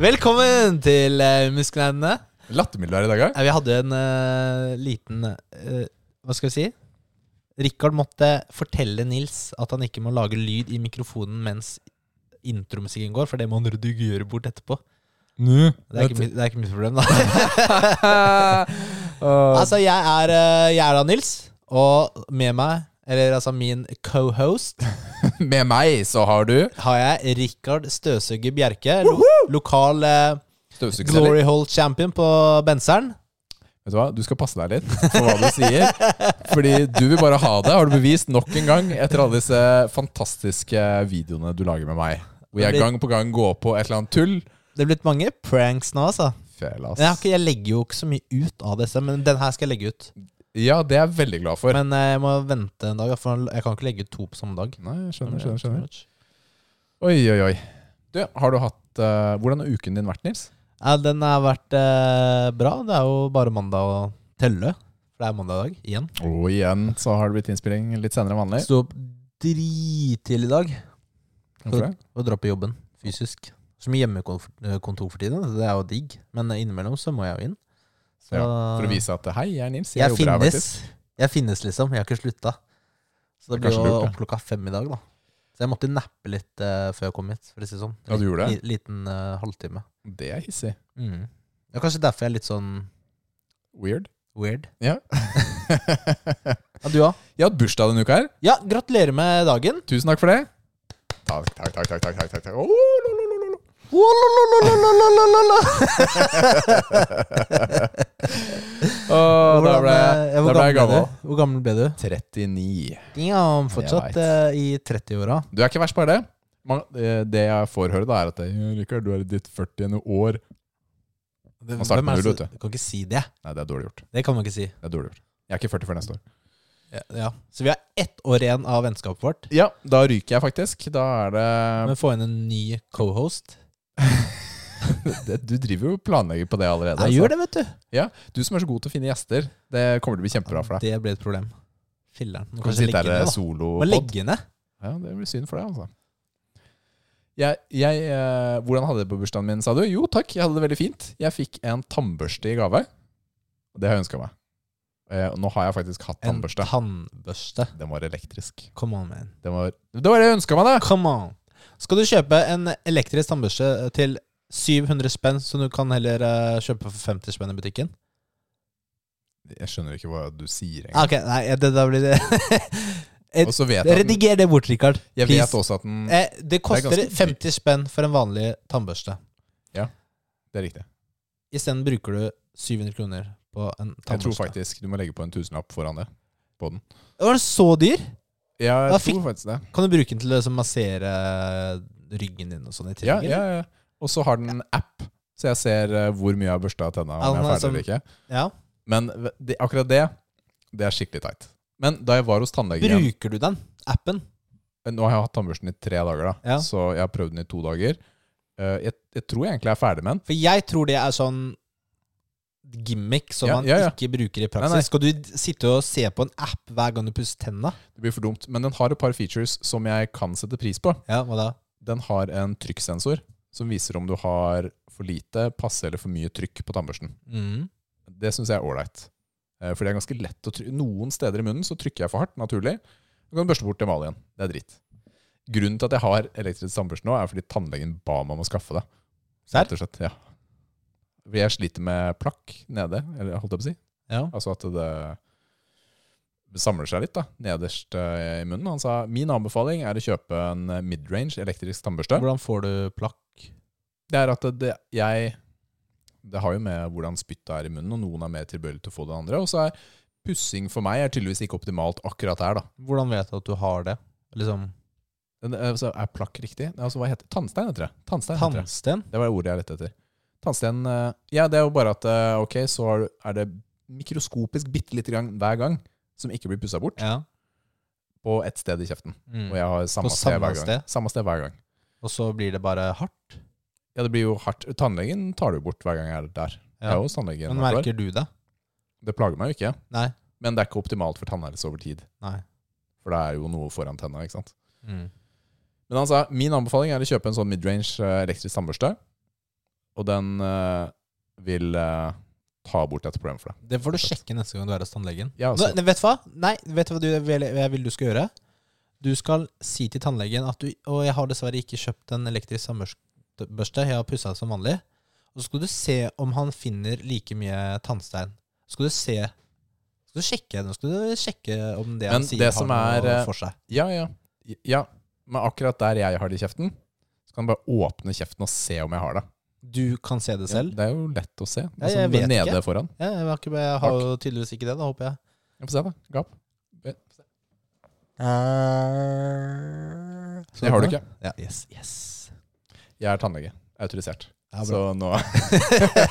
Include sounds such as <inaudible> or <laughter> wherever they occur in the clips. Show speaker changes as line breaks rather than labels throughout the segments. Velkommen til uh, Muskelnerdene.
Lattermild du er i dag, ja.
Eh, Vi hadde en eh, liten eh, Hva skal vi si? Richard måtte fortelle Nils at han ikke må lage lyd i mikrofonen mens intromusikken går, for det må han redigere bort etterpå.
Nå.
Det er ikke, mi- det er ikke mitt problem, da.
<laughs> Åh.
Altså, jeg er, eh, jeg er da Nils, og med meg, eller altså min co-host,
Med meg så har du
har jeg Rikard Støsuge Bjerke. Lo lokal eh,
støvsugerceller.
Glory Hole champion på Benseren.
Vet du hva, du skal passe deg litt for hva du sier. Fordi du vil bare ha det, har du bevist nok en gang etter alle disse fantastiske videoene du lager med meg. Hvor jeg gang på gang går på et eller annet tull.
Det er blitt mange pranks nå, altså.
Fela,
Men Jeg, har
ass.
ikke, jeg legger jo ikke så mye ut av disse, men den her skal jeg legge ut.
Ja, det er jeg veldig glad for.
Men eh, jeg må vente en dag, for jeg kan ikke legge ut to på samme dag.
Nei, jeg skjønner, skjønner, skjønner. Oi, oi, oi. Du, har du hatt eh, Hvordan har uken din vært, Nils?
Ja, den har vært eh, bra. Det er jo bare mandag å telle. For det er mandag i dag, igjen.
Og igjen så har det blitt innspilling litt senere enn vanlig.
Sto opp drittidlig i dag
Hvorfor det?
og dra på jobben fysisk. Så mye hjemmekontor for tiden, så det er jo digg. Men eh, innimellom så må jeg jo inn. Så
Ja, for å vise at hei, jeg er Nils.
jeg,
jobber her,
finnes.
faktisk.
Jeg finnes, liksom. Jeg har ikke slutta. Så det
Det er
blir
kanskje
jo
lurt,
opp klokka fem i dag, da. Så jeg måtte nappe litt eh, før jeg kom hit. For å si det sånn.
Ja, du gjorde det?
Li- Liten eh, halvtime.
Det er hissig.
Mm. Det er kanskje derfor jeg er litt sånn
Weird.
weird.
Ja. jeg
<laughs> Ja, du òg.
har hatt bursdag denne uka her.
Ja, gratulerer med dagen!
Tusen takk for det. Takk, takk, takk. takk, takk, takk, takk. Åh, lo, lo, lo, lo, lo. <laughs> Åh, da
Hvordan,
ble,
eh, ja,
da
hvor
ble
gammel
jeg
ble
gammel.
du? Hvor gammel ble du?
39.
Ja, fortsatt
Jeg
eh, i 30-åra.
Du er ikke verst, bare det. Man, eh, det jeg får høre, da, er at jeg, Rikard, du er i ditt 40. år. Man starter
Hvem er
med null,
det som-
vet
Du kan ikke si det.
Nei, det er dårlig gjort.
Det kan man ikke si.
Det er dårlig gjort. Jeg er ikke 40 før neste år.
Ja, ja. Så vi har ett år igjen av vennskapet vårt.
Ja, da ryker jeg faktisk. Da er det
Men få inn en ny co-host.
<laughs> det- Du driver jo og planlegger på det allerede.
Jeg
så-
gjør det, vet du.
Du som er så god til å finne gjester, det kommer til å bli kjempebra for deg.
Det ble et problem. Filleren. Må
Kan
kanskje
sitte
legge
her
ned,
eh,
da. Må
solopod.
legge ned.
Ja, det blir synd for deg, altså. Jeg, jeg, eh, hvordan hadde jeg det på bursdagen min, sa du? Jo takk, jeg hadde det veldig fint. Jeg fikk en tannbørste i gave. Og det har jeg ønska meg. Eh, og nå har jeg faktisk hatt
En
tannbørste.
tannbørste.
Den var elektrisk.
Come on, man.
Den var, det var det jeg ønska meg, da!
Come on. Skal du kjøpe en elektrisk tannbørste til 700 spenn, som du kan heller eh, kjøpe for 50 spenn i butikken?
Jeg skjønner ikke hva du sier
Ah,
engang.
Ok, nei, det da
<laughs>
blir det et-
Og så vet
<laughs>
jeg, at den,
Rediger det bort, Rikard.
jeg
Please.
vet også at den
Eh, det koster
ganske dyrt.
50 spenn for en vanlig tannbørste.
Det er riktig.
Isteden bruker du 700 kroner på en tannbørste.
Jeg tror faktisk du må legge på en tusenlapp foran det. På den.
Var den så dyr?
Jeg
Da
tror
fikk-
faktisk det.
Kan du bruke den til å liksom, massere ryggen din og sånn i
Ja,
tillegg?
ja, ja. Og så har den en app, så jeg ser eh, hvor mye jeg har børsta av tenna.
Ja,
Om jeg
den
er sånn
er
ferdig eller ikke.
ja.
Men v- det, akkurat det, det er skikkelig teit. Men da jeg var hos tannlegen igjen-
Bruker du den appen?
Nå har jeg hatt tannbørsten i tre dager, da.
Ja.
Så jeg har prøvd den i to dager. Eh, jeg, jeg tror jeg egentlig jeg er ferdig med den.
For jeg tror det er sånn gimmick som
Ja,
man
ja, ja.
ikke bruker i praksis.
Nei, nei.
Skal du d- sitte og se på en app hver gang du pusser tenna?
Det blir for dumt. Men den har et par features som jeg kan sette pris på.
Ja, hva da?
Den har en trykksensor som viser om du har for lite, passe eller for mye trykk på tannbørsten.
Mm.
Det syns jeg er ålreit. Eh, For det er ganske lett å trykke. Noen steder i munnen så trykker jeg for hardt, naturlig. Så kan du børste bort emaljen. Det er dritt. Grunnen til at jeg har elektrisk tannbørste nå, er fordi tannlegen ba meg om å skaffe det.
Serr?
Rett og slett, ja. Fordi jeg sliter med plakk nede, eller holdt jeg på å si.
Ja.
Altså at det samler seg litt da, nederst eh, i munnen. Han sa min anbefaling er å kjøpe en eh, midrange elektrisk tannbørste.
Hvordan får du plakk?
Det er at det, jeg Det har jo med hvordan spyttet er i munnen, og noen er mer tilbøyelig til å få det enn andre. Og så er pussing for meg er tydeligvis ikke optimalt akkurat her, da.
Hvordan vet du at du har det? Liksom
Den, eh, så er plakk riktig? Altså, hva heter det? Tannstein, heter det. Tannstein, heter det.
Tannsten?
Det var ordet jeg lette etter. Tannsten eh, Ja, det er jo bare at eh, ok, så har du- er det mikroskopisk bitte lite grann hver gang som ikke blir pussa bort,
Ja.
på ett sted i kjeften.
Mm.
Og jeg har
På
samme, sted,
samme
hver gang.
sted?
Samme sted hver gang.
Og så blir det bare hardt?
Ja, det blir jo hardt. Tannlegen tar det jo bort hver gang jeg er der. Jeg
Ja.
er jo hos tannlegen.
Men
hvert år.
merker du det?
Det plager meg jo ikke,
Nei.
men det er ikke optimalt for tannhelse over tid.
Nei.
For det er jo noe foran tenna, ikke sant.
Mm.
Men han sa min anbefaling er å kjøpe en sånn midrange eh, elektrisk tannbørste. Og den eh, vil eh, ta bort dette problemet for deg.
Det får du sjekke neste gang du er hos tannlegen.
Ja,
Nå,
altså,
nei, vet du hva? Nei, vet du hva du, vil- jeg vil du skal gjøre? Du skal si til tannlegen at du Og jeg har dessverre ikke kjøpt en elektrisk tannbørste. Jeg har pussa som vanlig. Og så skal du se om han finner like mye tannstein. Så skal du se Skal du sjekke Nå skal du sjekke om det han
Men
sier,
det
har
som er,
noe
eh,
for seg.
ja, ja, ja. Men akkurat der jeg har det i kjeften, så kan du bare åpne kjeften og se om jeg har det.
Du kan se det selv.
Det er jo lett å se.
Ja,
Altså,
jeg
det
vet
nede foran.
Ja, jeg, har ikke, jeg har jo tydeligvis ikke det, da håper jeg.
Ja, Få se, da. Gap.
Så
Eh, Det har du ikke.
Ja, yes, yes.
Jeg er tannlege. Autorisert.
Ja,
så nå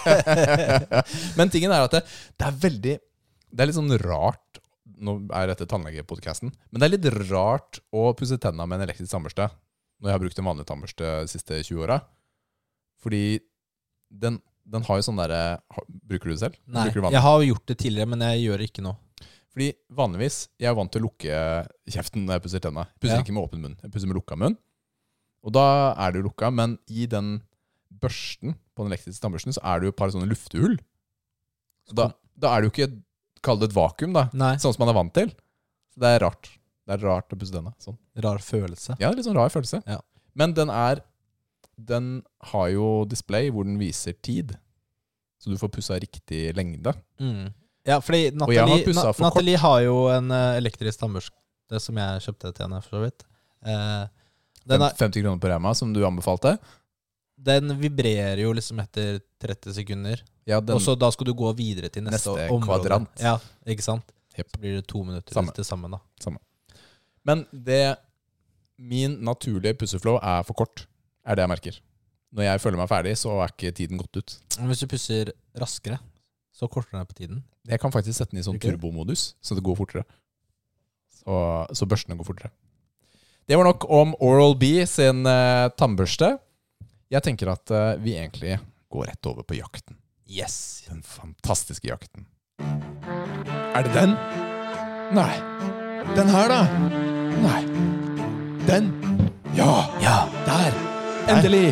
<laughs> Men tingen er at det, det er veldig Det er litt sånn rart Nå er dette tannlegepodcasten Men det er litt rart å pusse tennene med en elektrisk tannbørste Når jeg har brukt en vanlig tannbørste de siste 20 åra. Fordi den, den har jo sånn derre har- Bruker du det selv?
Nei,
Bruker du vanlig?
jeg har jo gjort det tidligere, men jeg gjør det ikke nå.
Fordi vanligvis, jeg er vant til å lukke kjeften når jeg pusser tennene. Jeg pusser
Ja.
ikke med åpen munn, jeg pusser med lukka munn. Og da er det jo lukka, men i den børsten, på den elektriske tannbørsten, så er det jo et par sånne luftehull. Så da, da er det jo ikke, kall det et vakuum da,
Nei,
sånn som man er vant til. Så det er rart. Det er rart å pusse tennene. Sånn.
rar følelse.
Ja, litt sånn rar følelse.
Ja.
Men den er, den har jo display hvor den viser tid. Så du får pussa riktig lengde.
Mm. Ja, fordi
Og jeg har
Nathalie,
pusset
Na-
for
Nathalie har jo en eh, elektrisk tannbørste som jeg kjøpte til henne, for så vidt. Eh, den, er,
50 kroner på Rema, som du anbefalte.
den vibrerer jo liksom etter 30 sekunder,
Ja, den,
og så da skal du gå videre til neste,
Neste
område.
kvadrant.
Ja, ikke sant?
Jepp.
Så blir det to minutter
Samme.
til sammen, da.
Men det Min naturlige pusseflow er for kort, er det jeg merker. Når jeg føler meg ferdig, så er ikke tiden gått ut.
Men hvis du pusser raskere, så korter den på tiden.
Jeg kan faktisk sette den i sånn
Ok.
turbomodus, så det går fortere. Så, så børstene går fortere. Det var nok om Oral-B sin eh, tannbørste. Jeg tenker at eh, vi egentlig går rett over på jakten.
Yes!
Den fantastiske jakten. Er det den? Nei. Den her, da? Nei. Den? Ja!
Ja!
Der! Endelig!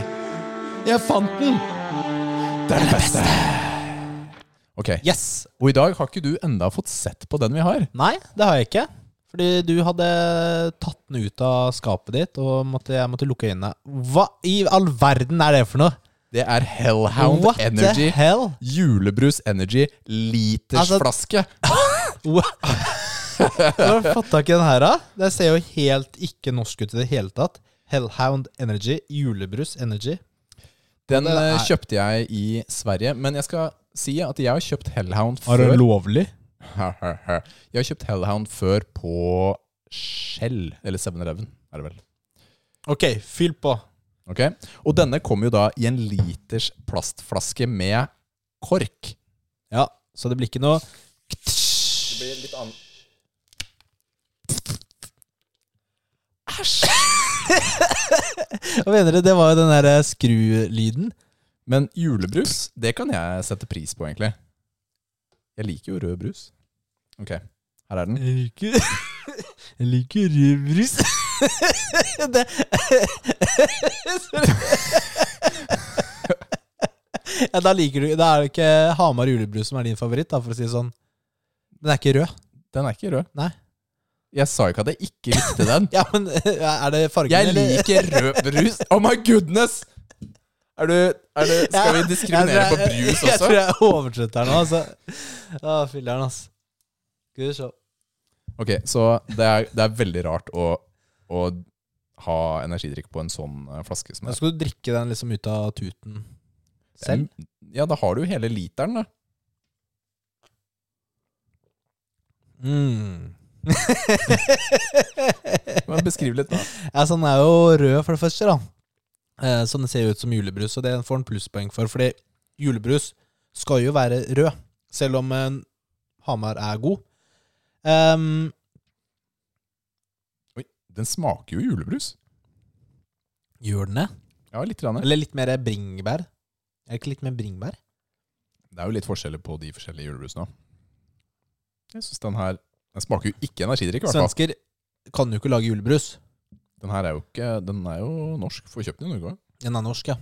Jeg fant den! Det er det beste! Ok,
Yes!
og i dag har ikke du enda fått sett på den vi har.
Nei, det har jeg ikke. Fordi du hadde tatt den ut av skapet ditt, og måtte, jeg måtte lukke øynene. Hva i all verden er det for noe?
Det er Hellhound
What
Energy
the hell? Altså,
julebrus Energy litersflaske.
Hva- <laughs> Hvor har du fått tak i den her, da? Det ser jo helt ikke norsk ut i det hele tatt. Hellhound Energy, julebrus Energy.
den
det
eh,
er-
kjøpte jeg i Sverige, men jeg skal si at jeg har kjøpt Hellhound
Er det
før.
lovlig?
<laughs> Jeg har kjøpt Hellhound før på Shell, eller 7-Eleven, er det vel.
Ok, fyll på.
Ok? Og denne kom jo da i en liters plastflaske med kork.
Ja, så det blir ikke noe
Det blir litt annen
<laughs> Hva mener du? Det var jo den der eh, skrulyden.
Men julebrus, det kan jeg sette pris på, egentlig. Jeg liker jo rød brus. Ok, her er den.
Jeg liker <laughs> Jeg liker rød brus. <laughs> det <laughs> ja, da liker du Da er det ikke Hamar julebrus som er din favoritt, da, for å si det sånn. Den er ikke rød.
Den er ikke rød.
Nei.
Jeg sa jo ikke at jeg ikke likte
<laughs>
den.
Ja, men er det fargen?
Jeg
eller?
liker rød brus! Oh my goodness! Er du, er du Skal vi diskriminere
Jeg
på
tror jeg- Altså, <laughs> Jeg tror
brus også?
jeg oversetter den nå, altså. Å, filler'n, ass. Skal vi se.
Ok, så det er, det er veldig rart å, å ha energidrikk på en sånn eh, flaske som
Da
det.
skal du drikke den liksom ut av tuten selv.
Ja, da har du jo hele literen, da.
Mm.
Men Beskriv litt, da.
<laughs> Ja, så den er jo rød for det første, da. Eh, Så den ser jo ut som julebrus, og det får han plusspoeng for. Fordi julebrus skal jo være rød, selv om eh, Hamar er god. Ehm,
Den smaker jo julebrus.
gjør den det?
Ja, litt. Rann.
Eller litt mer bringebær? Er det ikke litt mer bringebær?
Det er jo litt forskjeller på de forskjellige julebrusene. Jeg synes den her Den smaker jo ikke energidrikk, i hvert fall.
Svensker kan jo ikke lage julebrus.
Den her er jo ikke Den er jo norsk, får kjøpt den i Norge også.
Den er norsk, ja.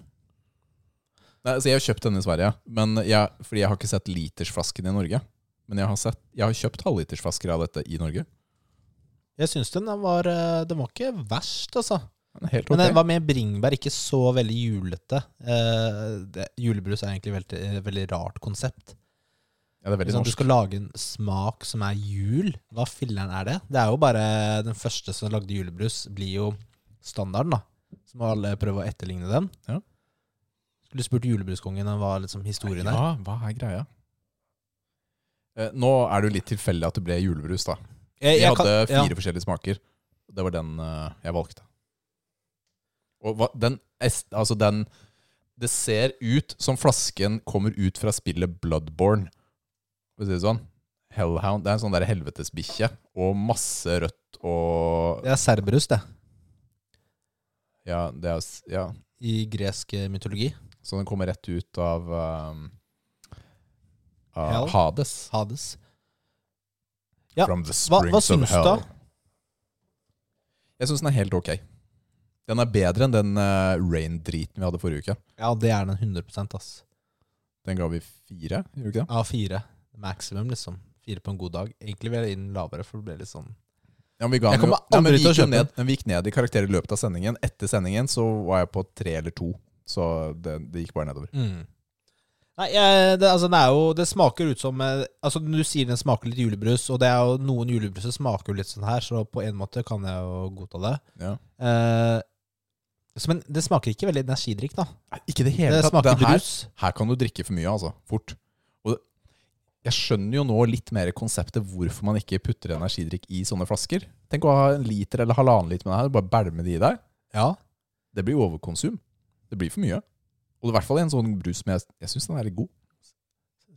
Nei, altså Jeg har kjøpt denne i Sverige, men jeg, fordi jeg har ikke sett litersflasken i Norge. Men jeg har, sett, jeg har kjøpt halvlitersflasker av dette i Norge.
Jeg syns den var eh, Den var ikke verst, altså.
Den er helt ok.
Men den var med bringebær, ikke så veldig julete. Eh, det, julebrus er egentlig et veldig, eh, veldig rart konsept.
ja, det er veldig
Sånn, du
norsk.
skal lage en smak som er jul. Hva filleren er det? Det er jo bare den første som lagde julebrus, blir jo standarden, da. Så må alle prøve å etterligne den.
Ja.
Skulle spurt julebruskongen om hva liksom, historien er.
Ja, hva er greia? Eh, nå er det jo litt tilfeldig at det ble julebrus, da.
Jeg,
Vi
jeg
hadde
kan-
fire forskjellige smaker. Det var den eh, jeg valgte. Og hva, den, est- altså den Det ser ut som flasken kommer ut fra spillet Bloodborne. For å si det sånn. Hellhound. Det er en sånn der helvetesbikkje. Og masse rødt og
ja, Det er serberus, det.
Ja, det er, s- ja.
I gresk eh, mytologi.
Så den kommer rett ut av um, av
Hell?
Hades.
Hades. Ja,
From the
Hva,
springs
hva
of
syns du,
hell.
da?
Jeg syns den er helt ok. Den er bedre enn den eh, rain-driten vi hadde forrige uke.
Ja, det er den 100 ass.
Den ga vi fire, gjorde vi ikke det?
Ja, fire. Maximum, liksom. Fire på en god dag. Egentlig vil jeg inn lavere, for det ble litt sånn
Ja, men vi ga
Jeg
den jo,
kommer
ja, men
aldri
vi
til å
gikk jo
kjøpe
ned, men vi gikk ned i karakter i løpet av sendingen. Etter sendingen så var jeg på tre eller to. Så det, det gikk bare nedover.
Mm. Nei, jeg, det, altså, det er jo Det smaker ut som eh, Altså, du sier den smaker litt julebrus, og det er jo noen julebruser smaker jo litt sånn her, så på en måte kan jeg jo godta det.
Ja.
Eh, så, men det smaker ikke veldig energidrikk, da.
Nei, Ikke det
Det
hele tatt.
smaker
Den her,
brus.
her kan du drikke for mye, altså. Fort. Og det, jeg skjønner jo nå litt mer konseptet hvorfor man ikke putter energidrikk i sånne flasker. Tenk å ha en liter eller halvannen liter med det her, bare bælme det i deg.
Ja.
Det blir overkonsum. Det blir for mye. Og i hvert fall i en sånn brus som jeg, jeg syns den er litt god.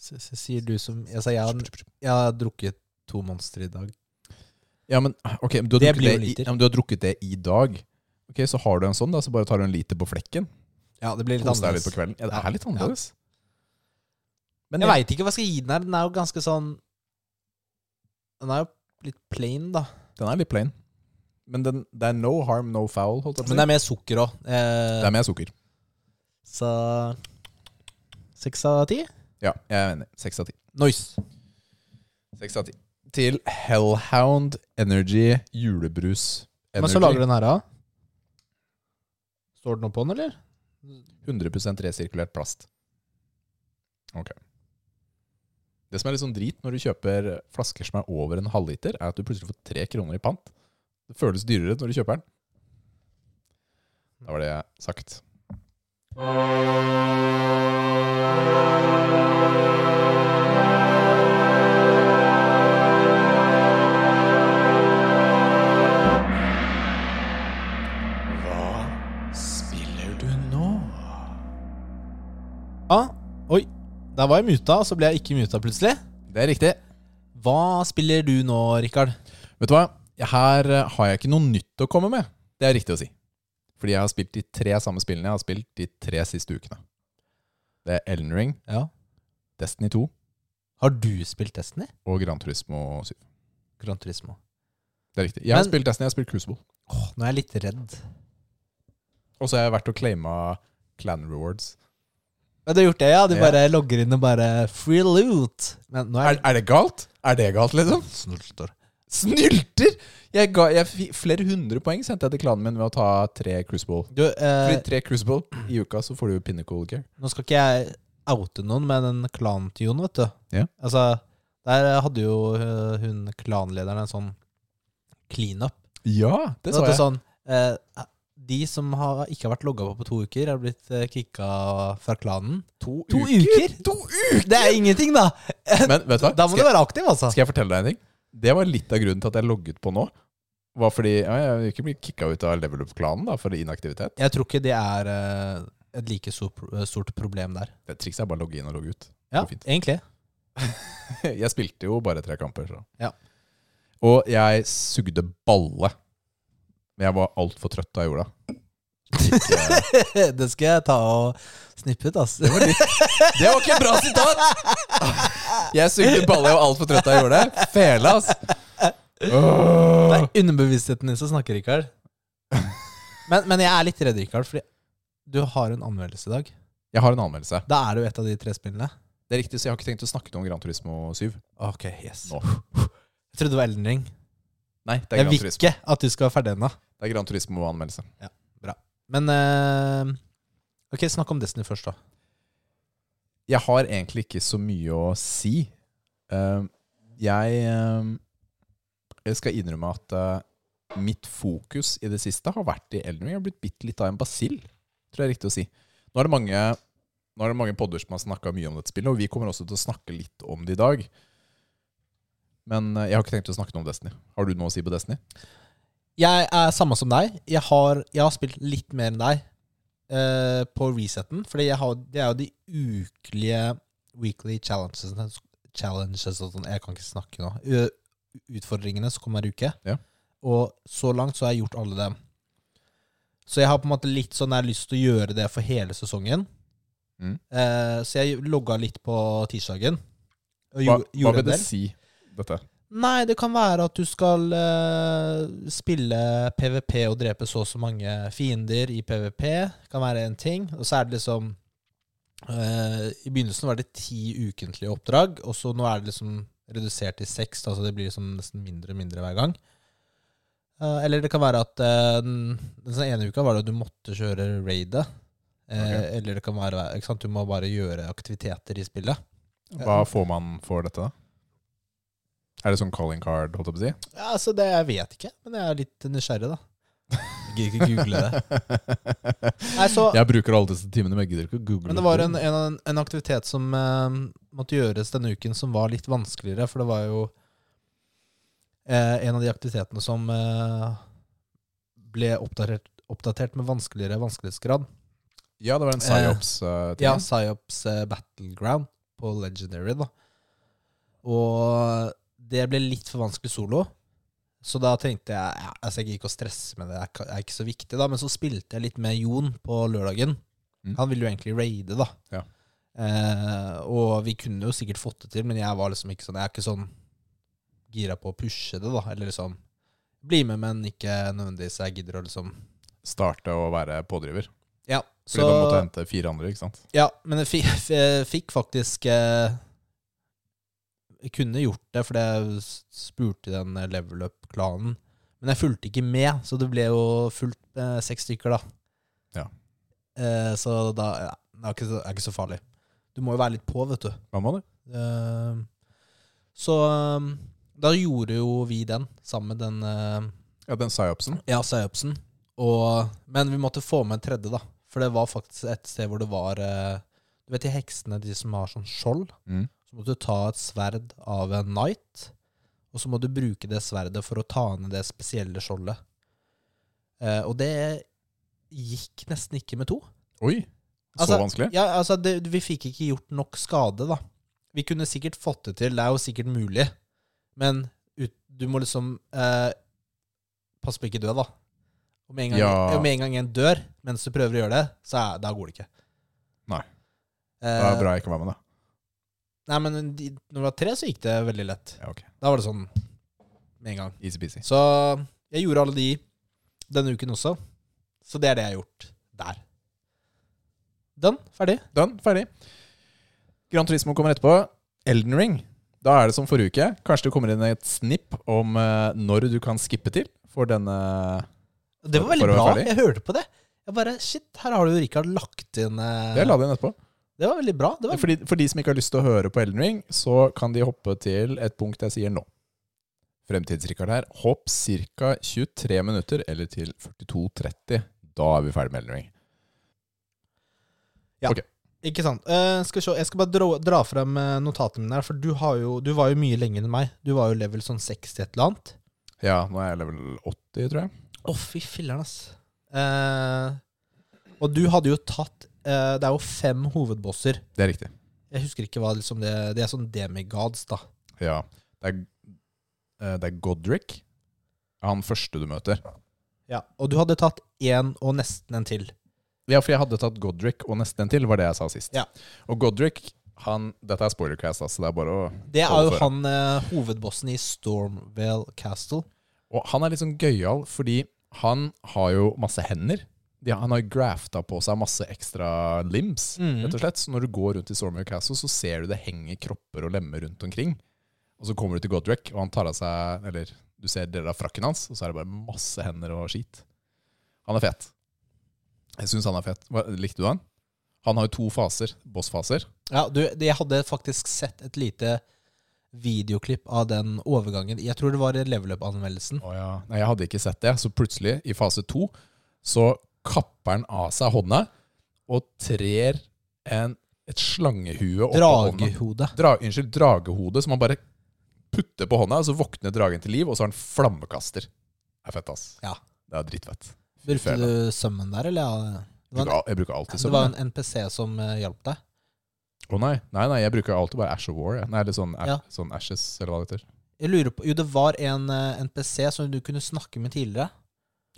S -s sier du som Altså, jeg har, jeg har drukket to monstre i dag.
Ja, men ah, ok, men du har,
Det
drukket
blir jo
det, i,
liter.
ja, men du har drukket det i dag. Ok, Så har du en sånn, da, så bare tar du en liter på flekken.
Ja, det blir litt
Kos deg
annerledes.
litt på kvelden. Ja, det
Ja.
er litt annerledes. Men
Jeg
jeg,
veit ikke hva jeg skal gi den her. Den er jo ganske sånn Den er jo litt plain, da.
den er litt plain. Men den, det er no harm, no foul. Holdt jeg på å
Men
si.
det er mer sukker òg.
det er mer sukker.
Så Seks av ti?
Ja, jeg er enig. Seks av ti.
Noise.
Seks av ti. Til Hellhound Energy julebrus.
Men så lager du den her, da? Står det noe på den, eller?
100 resirkulert plast. Ok. Det som er litt sånn drit når du kjøper flasker som er over en halvliter, er at du plutselig får tre kroner i pant. Det føles dyrere når du kjøper den. Da var det sagt. Hva spiller du nå?
Ja. Ah, Oi. Der var jeg muta, og så ble jeg ikke muta plutselig.
Det er riktig.
Hva spiller du nå, Rikard?
Vet du hva? Her eh, har jeg ikke noe nytt å komme med. Det er riktig å si. Fordi jeg har spilt de tre samme spillene jeg har spilt de tre siste ukene. Det er Elden Ring,
Ja.
Destiny 2
Har du spilt Destiny?
og Gran Turismo 7.
Gran Turismo.
Det er riktig. Jeg har
Men-
spilt Destiny, jeg har spilt Crucible.
Åh, nå er jeg litt redd.
Og så har jeg vært og claima Clan Rewards.
Ja, du har gjort det, ja? Du
Ja.
bare logger inn og bare Free loot. Men nå er
Er, er det galt? Er det galt, liksom?
Snulter.
Snylter! Jeg ga, jeg fikk flere hundre poeng sendte jeg til klanen min ved å ta tre Crucible.
Du, eh,
Fordi tre Crucible i uka, så får du Pinnacle Gear.
Nå skal ikke jeg oute noen, men den klanen til Jon, vet du.
Ja.
Altså, der hadde jo øh, hun klanlederen en sånn cleanup.
Ja,
At
det sa
det
jeg.
Sånn, eh, de som har, ikke har vært logga på på to uker, har blitt eh, kicka fra klanen.
To,
To uker?
To uker!
Det er ingenting, da!
Men vet du hva?
Da må
Skal-
du være aktiv, altså.
Skal jeg fortelle deg en ting? Det var litt av grunnen til at jeg logget på nå. Var fordi ja, Jeg vil ikke bli kicka ut av level up-klanen da, for inaktivitet.
Jeg tror ikke det er eh, et like so- stort problem der.
Det Trikset er bare å logge inn og logge ut.
Ja,
Går fint.
egentlig.
<laughs> Jeg spilte jo bare tre kamper. Så.
Ja.
Og jeg sugde balle. Men jeg var altfor trøtt da jeg gjorde det. Ikke-
<laughs> det skal jeg ta og snippe ut, ass.
Det var, litt, det var ikke et bra sitat! Jeg sugde balle, jeg var altfor trøtt da jeg gjorde det. Fele, ass. Åh.
Det er underbevisstheten din som snakker, Rikard. Men, men jeg er litt redd, Rikard, fordi du har en anmeldelse i dag.
Jeg har en anmeldelse.
Da er det jo et av de tre spillene.
Det er riktig, så jeg har ikke tenkt å snakke noe om Gran Turismo 7.
Ok, yes.
Nå.
Jeg trodde det var Elden Ring.
Nei, det er
Jeg
Gran
vil
Turismo.
ikke at du skal være ferdig ennå.
Det er Gran Turismo-anmeldelse.
Men eh, Ok, snakk om Destiny først, da.
Jeg har egentlig ikke så mye å si. Ehm, Jeg, ehm, jeg skal innrømme at eh, mitt fokus i det siste har vært i Elden Ring. Jeg har blitt bitt litt av en basill, tror jeg er riktig å si. Nå er det mange, nå er det mange podder som har snakka mye om dette spillet, og vi kommer også til å snakke litt om det i dag. Men eh, jeg har ikke tenkt å snakke noe om Destiny. Har du noe å si på Destiny?
Jeg er samme som deg. Jeg har, jeg har spilt litt mer enn deg eh, på resetten. For det er jo de ukelige weekly challenges, challenges og sånn. Jeg kan ikke snakke nå. Ø- Utfordringene som kommer hver uke.
Ja.
Og så langt så har jeg gjort alle dem. Så jeg har på en måte litt sånn jeg har lyst til å gjøre det for hele sesongen.
Mm.
Eh, så jeg logga litt på tirsdagen. og
Hva,
gjo-
hva
gjorde en
vil det
del.
si, dette?
Nei, det kan være at du skal eh, spille PVP og drepe så og så mange fiender i PVP. kan være en ting. Og så er det liksom eh, I begynnelsen var det ti ukentlige oppdrag, og så nå er det liksom redusert til seks. da, så det blir liksom nesten mindre og mindre hver gang. Eh, eller det kan være at eh, den, den sånn ene uka var det at du måtte kjøre raidet. Eh,
Ok.
Eller det kan være ikke sant, du må bare gjøre aktiviteter i spillet.
Hva får man for dette, da? Er det sånn calling card, holdt jeg på å si?
Ja, altså det Jeg vet ikke, men jeg er litt nysgjerrig, da. Jeg gidder ikke google det. <laughs> Nei, så,
Jeg bruker alle disse timene, men jeg gidder ikke å
<laughs>
google.
men det var en, en, en aktivitet som eh, måtte gjøres denne uken, som var litt vanskeligere. For det var jo eh, en av de aktivitetene som eh, ble oppdatert, oppdatert med vanskeligere vanskelighetsgrad.
Ja, det var en psyops-ting.
Eh, Ja, Psyops eh, Battleground på Legendary, da. Og det ble litt for vanskelig solo. Så da tenkte jeg ja, altså Jeg gidder ikke å stresse med det, det er ka- er ikke så viktig. da Men så spilte jeg litt med Jon på lørdagen.
Mm.
Han ville jo egentlig raide, da.
Ja.
Eh, og vi kunne jo sikkert fått det til, men jeg var liksom ikke sånn Jeg er ikke sånn gira på å pushe det, da. Eller liksom bli med, men ikke nødvendigvis jeg gidder å liksom
Starte å være pådriver.
Ja.
Fordi da måtte jeg hente fire andre, ikke sant?
Ja, men jeg fikk, <laughs> jeg fikk faktisk eh, Jeg kunne gjort det, for jeg s- spurte den level up-klanen. Men jeg fulgte ikke med, så det ble jo fullt eh, seks stykker, da.
Ja.
Eh, så da ja, det er ikke, så- det er ikke så farlig. Du må jo være litt på, vet du.
Hva må du?
Eh, så eh, da gjorde jo vi den, sammen med den eh,
Ja, den psyopsen.
ja, Sayopsen. Og, men vi måtte få med en tredje, da. For det var faktisk et sted hvor det var eh, Du vet de heksene, de som har sånn skjold?
Mm.
Så måtte du ta et sverd av en knight, og så må du bruke det sverdet for å ta ned det spesielle skjoldet. Eh, og det gikk nesten ikke med to.
Oi, så
Altså,
vanskelig?
Ja, altså, det, vi fikk ikke gjort nok skade, da. Vi kunne sikkert fått det til, det er jo sikkert mulig, men ut, du må liksom eh, Pass på ikke dø, da. Om en, gang,
Ja.
om en gang en dør mens du prøver å gjøre det, så er, da går det ikke.
Nei. Det
Eh,
var bra jeg ikke var med, da.
nei, men de, når det var tre, så gikk det veldig lett.
Ja, ok.
Da var det sånn med en gang.
Easy-peasy.
Så jeg gjorde alle de denne uken også. Så det er det jeg har gjort der. Den, ferdig.
Done, ferdig. Gran Turismo kommer etterpå. Elden Ring. Da er det som forrige uke. Kanskje det kommer inn et snipp om eh, når du kan skippe til for denne
Det var
For-
veldig
for å
bra.
være ferdig?
Jeg hørte på det. Jeg bare, shit, Her har du Rikard lagt inn eh,
Det la de inn etterpå.
Det var veldig bra. Det var,
For de, for de som ikke har lyst til å høre på Elden Ring, så kan de hoppe til et punkt jeg sier nå. Fremtidsrikard her. Hopp ca. 23 minutter, eller til 42.30. Da er vi ferdig med Elden Ring.
Ja.
Ok.
Ikke sant. Eh, skal vi se, jeg skal bare dra, dra frem eh, notatene mine her, for du, har jo, du var jo mye lenger enn meg. Du var jo level sånn 60 et eller annet.
Ja, nå er jeg level 80, tror jeg.
Å, fy filler'n, ass. Eh, og du hadde jo tatt eh, Det er jo fem hovedbosser.
Det er riktig.
Jeg husker ikke hva liksom det Det er sånn demigods, da.
Ja. Det er, eh, det er Godric. Han første du møter.
Ja. Og du hadde tatt én og nesten en til.
Ja, for jeg hadde tatt Godric og nesten en til, var det jeg sa sist.
Ja.
Og Godric, han Dette er spoilercast, altså. Det er bare å
Det er jo
Overføre.
han eh, hovedbossen i Stormvale Castle.
Og han er litt sånn gøyal, fordi han har jo masse hender. De, han har grafta på seg masse ekstra limbs,
Mhm.
rett og slett. Så når du går rundt i Stormwell Castle, så ser du det henger kropper og lemmer rundt omkring. Og så kommer du til Godrek, og han tar av seg Eller du ser deler av frakken hans, og så er det bare masse hender og skit. Han er fet. Jeg syns han er fet. Hva, likte du han? Han har jo to faser. Bossfaser.
Ja, du, det- jeg hadde faktisk sett et lite videoklipp av den overgangen. Jeg tror det var i level up-anmeldelsen.
Å ja. Nei, jeg hadde ikke sett det. Så plutselig, i fase to, så kapper han av seg hånda og trer en, et slangehue opp hånda.
Dragehode.
Dra, unnskyld, dragehode som han bare putter på hånda, og så våkner dragen til liv, og så har han flammekaster. Det er fett, ass.
Ja.
Det er drittfett.
Brukte
fæle.
du summon der, eller? Ja, det
Jeg
var en,
bruker, jeg bruker alltid
det
sånn.
var en NPC som eh, hjalp deg.
Å nei. nei, nei, jeg bruker alltid bare Ash of War. jeg. Nei, eller sånn,
Ja.
sånn Ashes, eller hva det heter.
Jeg lurer på, Jo, det var en eh, NPC som du kunne snakke med tidligere.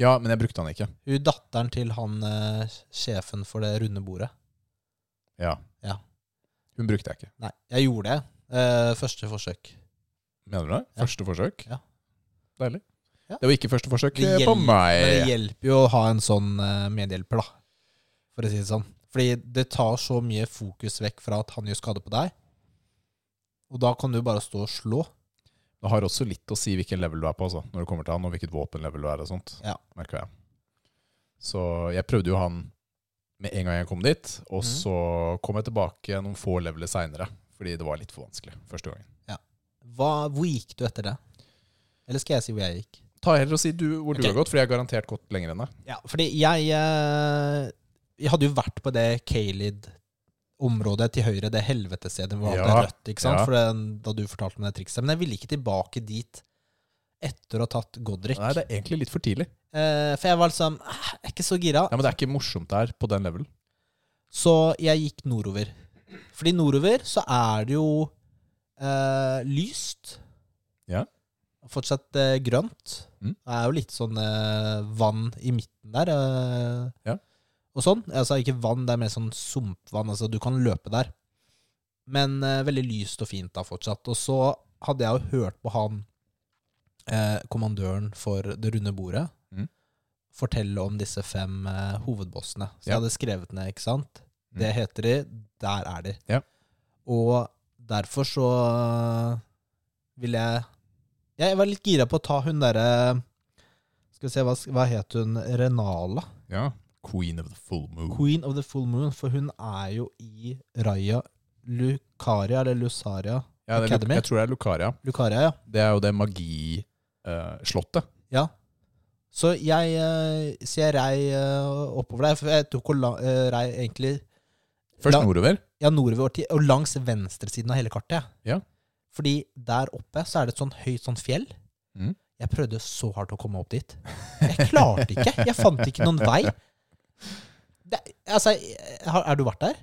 Ja, men jeg brukte han ikke.
Hun datteren til han eh, sjefen for det runde bordet.
Ja.
Ja.
Hun brukte jeg ikke.
Nei, jeg gjorde det. eh, første forsøk.
Mener du det?
Ja.
Første forsøk?
Ja.
Deilig.
Ja.
Det var ikke første forsøk
Det
eh, på
gjelder-
meg.
Men det hjelper jo å ha en sånn eh, medhjelper, da. For å si det sånn. Fordi det tar så mye fokus vekk fra at han gjør skade på deg. Og da kan du bare stå og slå.
Det har også litt å si hvilken level du er på, altså, når det kommer til han, og hvilket våpenlevel du er og sånt.
Ja.
Merker jeg. Så jeg prøvde jo han med en gang jeg kom dit, og
Mhm.
så kom jeg tilbake noen få leveler seinere, fordi det var litt for vanskelig første gangen.
Hva, hvor gikk du etter det? Eller skal jeg si hvor jeg gikk?
Ta heller og si du, hvor du
Ok.
har gått, for jeg har garantert gått lenger enn deg.
Ja, fordi jeg eh, Jeg hadde jo vært på det Kaelid-området til høyre, det helvetestedet hvor alt
Ja,
er rødt, ikke sant?
ja.
For den- da du fortalte meg det trikset. Men jeg ville ikke tilbake dit etter å ha tatt Godric.
Nei, det er egentlig litt for tidlig.
Eh, for jeg var liksom eh, Jeg er ikke så gira.
Ja, Men det er ikke morsomt der, på den levelen.
Så jeg gikk nordover. Fordi nordover så er det jo eh, lyst.
Ja.
Fortsatt eh, grønt.
Mm.
Det er jo litt sånn eh, vann i midten der. eh,
Ja.
Og sånn. Altså ikke vann, det er mer sånn sumpvann. Altså du kan løpe der. Men eh, veldig lyst og fint da fortsatt. Og så hadde jeg jo hørt på han eh, kommandøren for det runde bordet
Mm.
fortelle om disse fem eh, hovedbossene. Så
Ja.
jeg hadde skrevet ned, ikke sant?
Mm.
Det heter de. Der er de.
Ja.
Og derfor så eh, vil jeg Jeg var litt gira på å ta hun derre Skal vi se, hva, hva het hun? Renala?
Ja. Queen of the full moon.
Queen of the Full Moon, for hun er jo i Raya Lucaria, eller Lusaria
ja, det er, Lu-
Academy.
jeg tror det er Lucaria.
Lucaria, ja.
Det er jo det eh, magislottet.
Ja. Så jeg, eh, så jeg rei eh, oppover der. For jeg tok og la, eh, rei egentlig
Først
La-
nordover.
ja, nordover til, og langs venstresiden av hele kartet. jeg.
Ja.
Fordi der oppe så er det et sånn høyt sånn fjell.
Mhm.
Jeg prøvde så hardt å komme opp dit. Jeg klarte ikke. Jeg fant ikke noen vei. Det, altså, har, er du vært der?